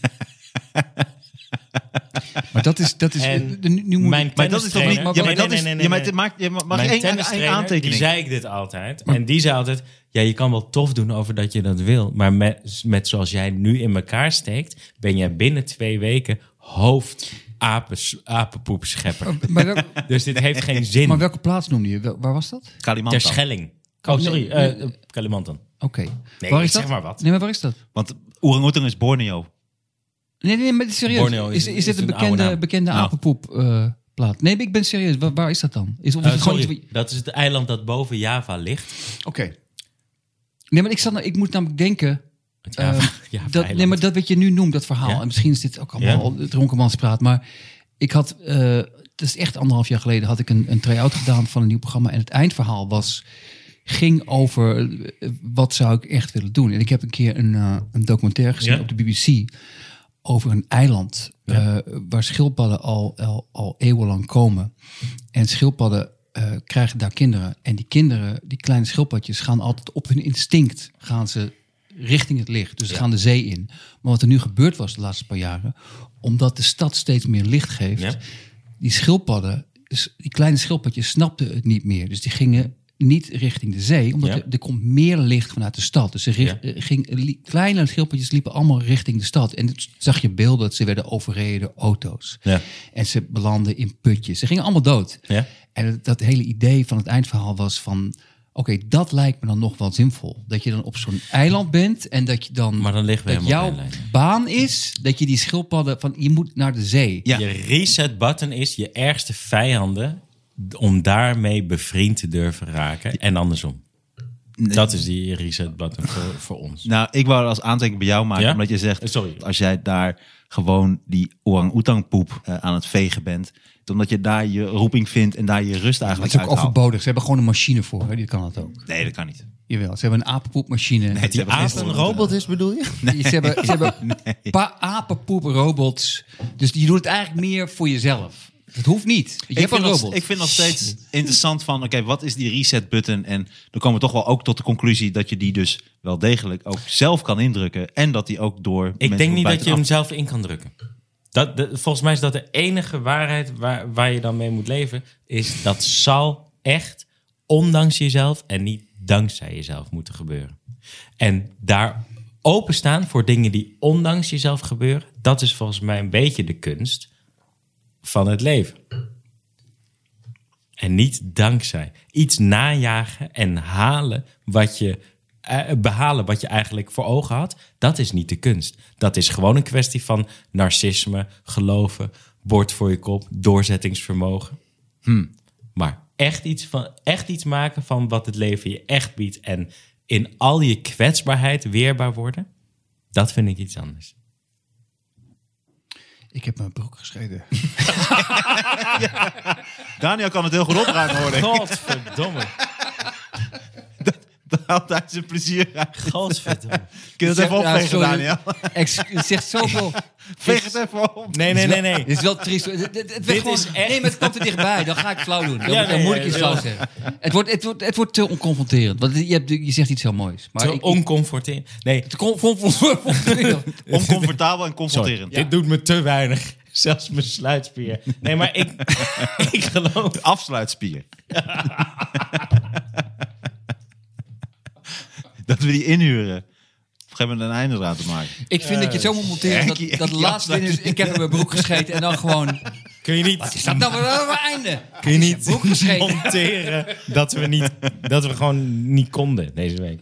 S2: Maar dat is, dat is
S4: En
S2: de, nu moet
S4: mijn
S1: Maar dat is toch niet...
S4: tennistrainer-
S1: Ja, maar
S4: Nee,
S1: dat
S4: nee,
S1: is...
S4: nee, nee,
S1: ja, maar
S4: nee.
S1: dit maakt- je mag- Mag
S4: Mijn
S1: één- één
S4: tennistrainer, die
S1: aantekening?
S4: zei ik dit altijd. en die zei altijd, ja, je kan wel tof doen over dat je dat wil. Maar met, met zoals jij nu in elkaar steekt, ben jij binnen twee weken hoofd apens, apenpoepschepper.
S2: Maar, wel-
S4: dus dit heeft geen zin.
S2: Oh. maar welke plaats noemde je? Wel- Waar was dat?
S4: Ter
S1: Kalimantan.
S4: Schelling. Oh, sorry.
S2: nee,
S4: eh, Kalimantan.
S2: Oké.
S4: Nee,
S2: waar is
S4: zeg
S2: dat?
S4: maar wat.
S2: Nee, maar waar is dat?
S1: Want Oerang-Oetang is Borneo.
S2: Nee, nee, maar serieus.
S4: Borneo
S2: is,
S4: is-
S2: is,
S4: is
S2: dit een
S4: een oude
S2: bekende,
S4: naam.
S2: bekende
S1: Nou.
S2: apenpoep eh, plaat? Nee, ik ben serieus. Waar, waar is dat dan? Is, of is
S4: Eh,
S2: het gewoon
S4: sorry,
S2: iets
S4: dat is het eiland dat boven Java ligt.
S2: wat- Oké. Nee, maar ik, zat, nou- ik moet namelijk denken...
S4: Het
S2: eh,
S4: Java, Java
S2: dat, nee,
S4: eiland.
S2: maar dat wat je nu noemt, dat verhaal.
S4: Ja.
S2: En misschien is dit ook allemaal dronkenmanspraat. Maar ik had... eh het is echt anderhalf jaar geleden had ik een, een try-out gedaan van een nieuw programma. En het eindverhaal was... ging over eh, wat zou ik echt willen doen. En ik heb een keer een, eh, een documentaire gezien
S4: Ja?
S2: op de BBC over een eiland eh, waar schildpadden al, al, al eeuwenlang komen. En schildpadden eh, krijgen daar kinderen. En die kinderen, die kleine schildpadjes, gaan altijd op hun instinct gaan ze richting het licht. Dus ze gaan de zee in. Maar wat er nu gebeurd was de laatste paar jaren, omdat de stad steeds meer licht geeft,
S4: Ja.
S2: die schildpadden, s- die kleine schildpadjes snapten het niet meer. Dus die gingen niet richting de zee, omdat
S4: Ja.
S2: er, er komt meer licht vanuit de stad. Dus ze richt,
S4: Ja.
S2: eh, ging, li- kleine schildpadjes liepen allemaal richting de stad. En het- zag je beelden dat ze werden overreden door auto's.
S4: Ja.
S2: En ze belanden in putjes. Ze gingen allemaal dood.
S4: Ja.
S2: En het- dat hele idee van het eindverhaal was van... Oké, dat lijkt me dan nog wel zinvol. Dat je dan op zo'n eiland bent en dat je dan...
S4: Maar dan liggen we
S2: dat
S4: helemaal
S2: jouw
S4: op één lijn.
S2: baan is dat je die schildpadden van... Je moet naar de zee.
S1: Ja.
S4: Je reset button is je ergste vijanden om daarmee bevriend te durven raken en andersom. Dat is die reset button voor, voor ons.
S1: Nou, ik wou er als aantekening bij jou maken,
S4: Ja?
S1: omdat je zegt,
S4: Eh, sorry.
S1: als jij daar gewoon die orang-oetang-poep eh, aan het vegen bent, omdat je daar je roeping vindt en daar je rust
S2: Dat
S1: eigenlijk
S2: is ook
S1: uithaalt.
S2: overbodig. Ze hebben gewoon een machine voor. Hè? Die kan dat ook.
S1: Nee, dat kan niet.
S2: Jawel, ze hebben een apenpoepmachine.
S1: Nee, die
S4: aap
S1: geen
S4: een
S1: rood-
S5: Robot is bedoel je?
S2: Ze hebben, ze hebben pa- apenpoeprobots. Dus je doet het eigenlijk meer voor jezelf. Dat hoeft niet. Je
S1: Ik
S2: hebt
S1: vind,
S2: een
S1: nog,
S2: robot.
S1: ik vind nog steeds interessant van, oké, wat is die reset button? En dan komen we toch wel ook tot de conclusie dat je die dus wel degelijk ook zelf kan indrukken. En dat die ook door
S4: Ik
S1: mensen van
S4: denk niet dat je
S1: buitenaf-
S4: hem zelf in kan drukken. Dat, de- volgens mij is dat de enige waarheid waar, waar je dan mee moet leven. Is dat zal echt ondanks jezelf en niet dankzij jezelf moeten gebeuren. En daar openstaan voor dingen die ondanks jezelf gebeuren. Dat is volgens mij een beetje de kunst van het leven. En niet dankzij. Iets najagen en halen wat je, eh, behalen wat je eigenlijk voor ogen had, dat is niet de kunst. Dat is gewoon een kwestie van narcisme, geloven, bord voor je kop, doorzettingsvermogen. Hmm. Maar echt iets, van, echt iets maken van wat het leven je echt biedt en in al je kwetsbaarheid weerbaar worden, dat vind ik iets anders.
S2: Ik heb mijn broek geschreven.
S1: Daniel kan het heel goed opruimen, hoor ik.
S4: Godverdomme,
S1: Daar haalt hij zijn plezier uit.
S4: godverdomme.
S1: Kun je dat even
S2: Ja,
S1: opvegen,
S2: sorry.
S1: Daniel?
S2: Ex- Het zegt zoveel.
S1: Veeg het even op.
S4: Nee, nee, nee, nee.
S2: Dit is wel triest. Het, het, het werd
S4: Dit
S2: gewoon-
S4: is echt-
S2: Nee, maar het komt er dichtbij. Dan ga ik flauw doen. Dan,
S4: Ja,
S2: dan
S4: nee,
S2: moet ik
S4: ja,
S2: iets
S4: ja.
S2: flauw zeggen. Het wordt, het, wordt, het wordt te onconfronterend. Want je, hebt, je zegt iets heel moois. Maar
S4: Zo
S2: ik-
S4: oncomforterend. Nee,
S2: te con- con- con- confronterend.
S1: Oncomfortabel en
S4: Sorry,
S1: confronterend.
S4: dit doet me te weinig. Zelfs mijn sluitspier. Nee, maar ik, ik geloof...
S1: De afsluitspier. dat we die inhuren. Op een gegeven moment een einde aan te maken.
S2: Ik vind dat je het zo moet monteren dat, dat de laatste ding is... ik heb in mijn broek gescheten en dan gewoon...
S4: Kun je niet,
S2: Is dat nou weer een einde?
S4: kun je niet
S2: broek gescheten.
S4: monteren dat we, niet, dat we gewoon niet konden deze week?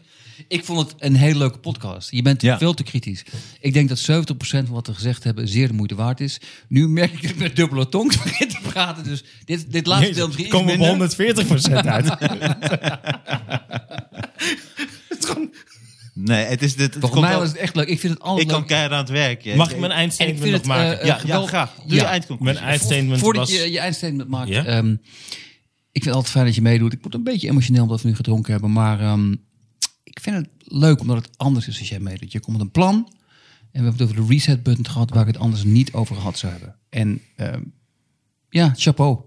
S2: Ik vond het een hele leuke podcast. Je bent
S1: Ja.
S2: veel te kritisch. Ik denk dat 70% van wat we gezegd hebben zeer de moeite waard is. Nu merk ik dat ik met dubbele tong begin te praten. Dus dit, dit laatste deel
S4: Jezus,
S2: misschien iets
S4: komen
S2: minder.
S4: we op 140% uit.
S1: Nee, het is dit. het
S2: Volgens
S1: komt
S2: mij
S1: wel-
S2: was het echt leuk. Ik vind het
S1: ik
S2: altijd
S1: kan
S2: leuk.
S1: keihard aan het werk. ja.
S4: Mag ik mijn
S2: En ik
S4: eindstatement
S2: vind
S4: nog
S2: het,
S4: maken?
S2: eh,
S1: Ja, ja,
S2: geweldig.
S1: graag. Doe je
S2: Ja.
S1: eindconclusie.
S4: mijn eindstatement
S2: Voordat
S4: was...
S2: je je eindstatement maakt.
S4: Ja?
S2: ehm, ik vind het altijd fijn dat je meedoet. Ik word een beetje emotioneel omdat we nu gedronken hebben. Maar ehm, ik vind het leuk omdat het anders is als jij meedoet. Je komt met een plan. En we hebben het over de reset button gehad waar ik het anders niet over gehad zou hebben. En ehm, ja, chapeau.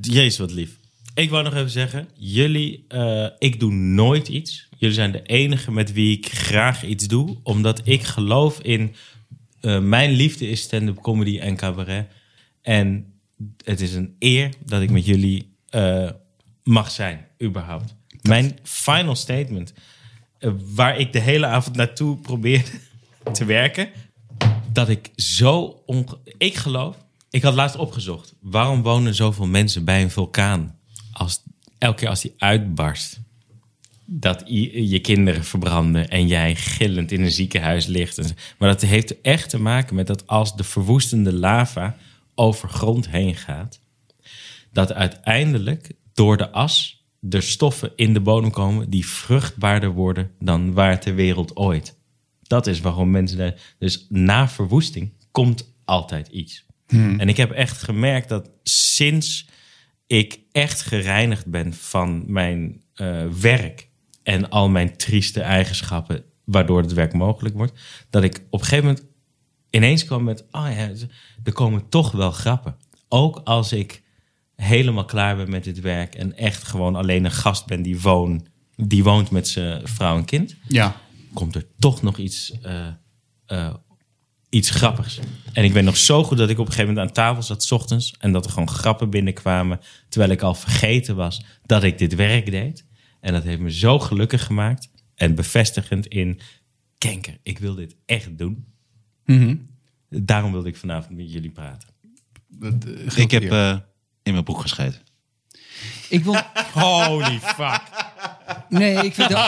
S4: Jezus, wat lief. Ik wou nog even zeggen, jullie, eh, ik doe nooit iets. Jullie zijn de enige met wie ik graag iets doe, omdat ik geloof in eh, mijn liefde is stand-up comedy en cabaret. En het is een eer dat ik met jullie eh, mag zijn, überhaupt. Mijn final statement, eh, waar ik de hele avond naartoe probeerde te werken, dat ik zo onge- Ik geloof, ik had laatst opgezocht, waarom wonen zoveel mensen bij een vulkaan als elke keer als die uitbarst? Dat i- je kinderen verbranden en jij gillend in een ziekenhuis ligt. en zo. Maar dat heeft echt te maken met dat als de verwoestende lava over grond heen gaat, dat uiteindelijk door de as er stoffen in de bodem komen die vruchtbaarder worden dan waar ter wereld ooit. Dat is waarom mensen daar. Dus na verwoesting komt altijd iets. En ik heb echt gemerkt dat sinds ik echt gereinigd ben van mijn eh, werk en al mijn trieste eigenschappen, waardoor het werk mogelijk wordt, dat ik op een gegeven moment ineens kwam met, ah ja, er komen toch wel grappen. Ook als ik helemaal klaar ben met dit werk en echt gewoon alleen een gast ben die, woon, die woont met zijn vrouw en kind,
S2: Ja.
S4: komt er toch nog iets, eh, eh, iets grappigs. En ik weet nog zo goed dat ik op een gegeven moment aan tafel zat, 's ochtends, en dat er gewoon grappen binnenkwamen, terwijl ik al vergeten was dat ik dit werk deed. En dat heeft me zo gelukkig gemaakt en bevestigend in, kenker, ik wil dit echt doen.
S1: Mhm.
S4: Daarom wilde ik vanavond met jullie praten.
S1: Ik heb eh, in mijn broek gescheten.
S2: Ik wil...
S4: Holy fuck.
S2: Nee, ik vind... Dat,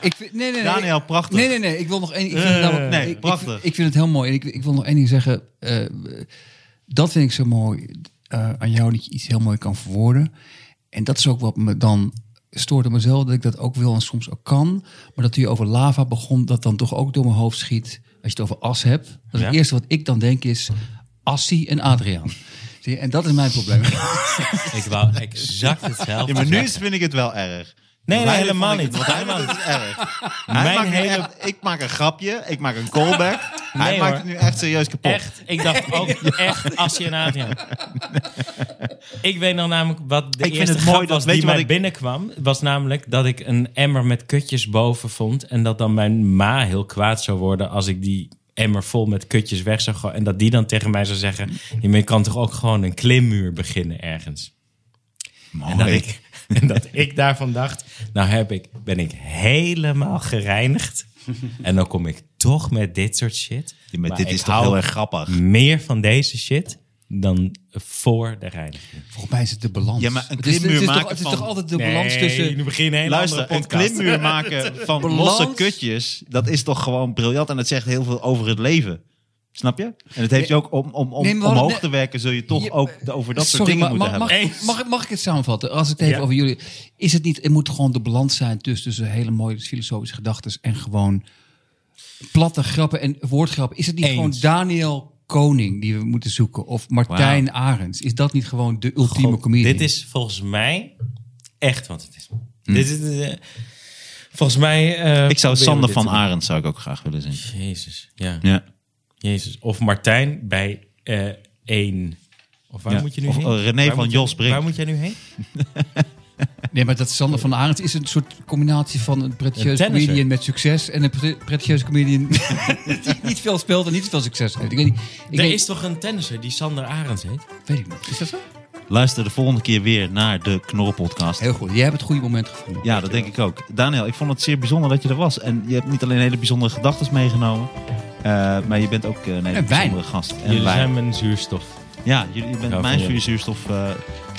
S2: ik vind nee, nee, nee.
S1: Daniel, prachtig. Eh,
S2: Nee, nee, nee. Ik wil nog één... Ik vind het namelijk-
S1: nee,
S2: ik- ik-
S1: prachtig.
S2: Ik, vind het heel mooi. En Ik, ik wil nog één ding zeggen. Eh, dat vind ik zo mooi eh, aan jou, dat je iets heel mooi kan verwoorden. En dat is ook wat me dan stoort aan mezelf, dat ik dat ook wil en soms ook kan. Maar dat u over lava begon, dat dan toch ook door mijn hoofd schiet. Als je het over as hebt. Dat is het
S4: Ja.
S2: eerste wat ik dan denk is, Assie en Adriaan. Zie je? En dat is mijn probleem.
S4: Ik wou exact hetzelfde.
S1: Ja, maar nu
S4: zeggen.
S1: is- vind ik het wel erg.
S4: Nee, nee,
S1: Leider
S4: helemaal
S1: vond ik
S4: niet.
S1: het- want hij maakt het erg. Hij
S4: Mijn
S1: maakt nu
S4: hele-
S1: echt- ik maak een grapje, ik maak een callback. hij
S4: Nee,
S1: maakt
S4: hoor.
S1: het nu echt serieus kapot.
S4: Echt, ik dacht ook echt Assie en Adriaan. Ik weet nog namelijk wat de
S1: Ik vind
S4: eerste
S1: het mooi
S4: grap
S1: dat-
S4: was
S1: weet
S4: die
S1: je wat
S4: mij
S1: ik-
S4: binnenkwam. Was namelijk dat ik een emmer met kutjes boven vond. En dat dan mijn ma heel kwaad zou worden als ik die emmer vol met kutjes weg zou gooien. En dat die dan tegen mij zou zeggen, "Ja, maar je kan toch ook gewoon een klimmuur beginnen ergens. En dat, ik, en dat ik daarvan dacht, nou heb ik, ben ik helemaal gereinigd. En dan kom ik toch met dit soort shit.
S1: Ja, maar
S4: Maar
S1: dit
S4: ik
S1: is toch
S4: hou
S1: heel erg grappig.
S4: meer van deze shit dan voor de reiniging.
S2: Volgens mij is het de balans.
S1: Ja, maar een
S2: het is, het is,
S1: klimmuur
S2: toch,
S1: maken
S2: het is
S1: van-
S2: toch altijd de balans tussen...
S4: nu begin je een hele
S1: Luister,
S4: andere
S1: een
S4: podcast.
S1: klimmuur maken van
S2: Balans.
S1: losse kutjes, dat is toch gewoon briljant. En dat zegt heel veel over het leven. Snap je? En het heeft je ook om, om, om
S2: Nee, maar-
S1: omhoog
S2: nee.
S1: te werken, zul je toch
S2: Je-
S1: ook de- over dat soort
S2: Sorry,
S1: dingen
S2: maar
S1: moeten
S2: mag,
S1: hebben.
S2: Mag, mag, ik- mag ik het samenvatten? Als ik het even
S4: Ja.
S2: over jullie... Is het niet... Het moet gewoon de balans zijn tussen, tussen hele mooie filosofische gedachten en gewoon platte grappen en woordgrappen. Is het niet
S4: Eens.
S2: gewoon Daniel Koning die we moeten zoeken? Of Martijn Arends? Is dat niet gewoon de ultieme
S4: God,
S2: comedian?
S4: Dit is volgens mij echt wat het is. Dit is eh, volgens mij. eh,
S1: Mm. Ik zou
S4: proberen we
S1: Sander
S4: dit
S1: van
S4: te doen.
S1: Arend zou ik ook graag willen zien.
S4: Jezus, ja.
S1: Ja.
S4: Jezus. Of Martijn bij eh één. Of waar
S1: Ja.
S4: moet je nu
S1: Of,
S4: heen?
S1: eh, René
S4: Waar
S1: van
S4: moet je-
S1: Jos Brink.
S4: Waar moet jij nu heen?
S2: Nee, maar dat Sander van Arends is een soort combinatie van een
S4: Een
S2: pretentieus
S4: tennisser.
S2: comedian met succes en een pre- pretentieus comedian die niet veel speelt en niet veel succes heeft. Ik weet niet. Ik
S4: er
S2: weet,
S4: is toch een tennisser die Sander Arends heet?
S2: weet ik niet. Is dat zo?
S1: Luister de volgende keer weer naar de Knorrelpodcast.
S2: Heel goed. Jij hebt het goede moment gevonden.
S1: Ja, dat denk ik ook. Daniel, ik vond het zeer bijzonder dat je er was. En je hebt niet alleen hele bijzondere gedachten meegenomen, eh, maar je bent ook eh, een hele
S2: En wijn.
S1: bijzondere gast. En
S4: Jullie
S1: wijn.
S4: zijn mijn zuurstof.
S1: Ja, jullie, je bent
S4: Ja,
S1: mijn
S4: van jullie.
S1: zuurstof. eh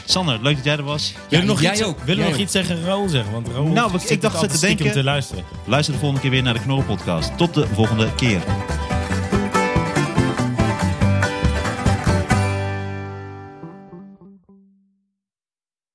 S1: Sander, leuk dat jij er was.
S4: Wil je nog
S2: jij
S4: iets,
S2: ook.
S4: Wil je
S2: Jij
S4: nog
S2: ook.
S4: iets tegen Raoul zeggen? Want Raoul
S1: Nou, ik-
S4: zit
S1: ik dacht
S4: altijd
S1: te denken-
S4: stiekem te luisteren.
S1: Luister de volgende keer weer naar de Knorrelpodcast. Tot de volgende keer.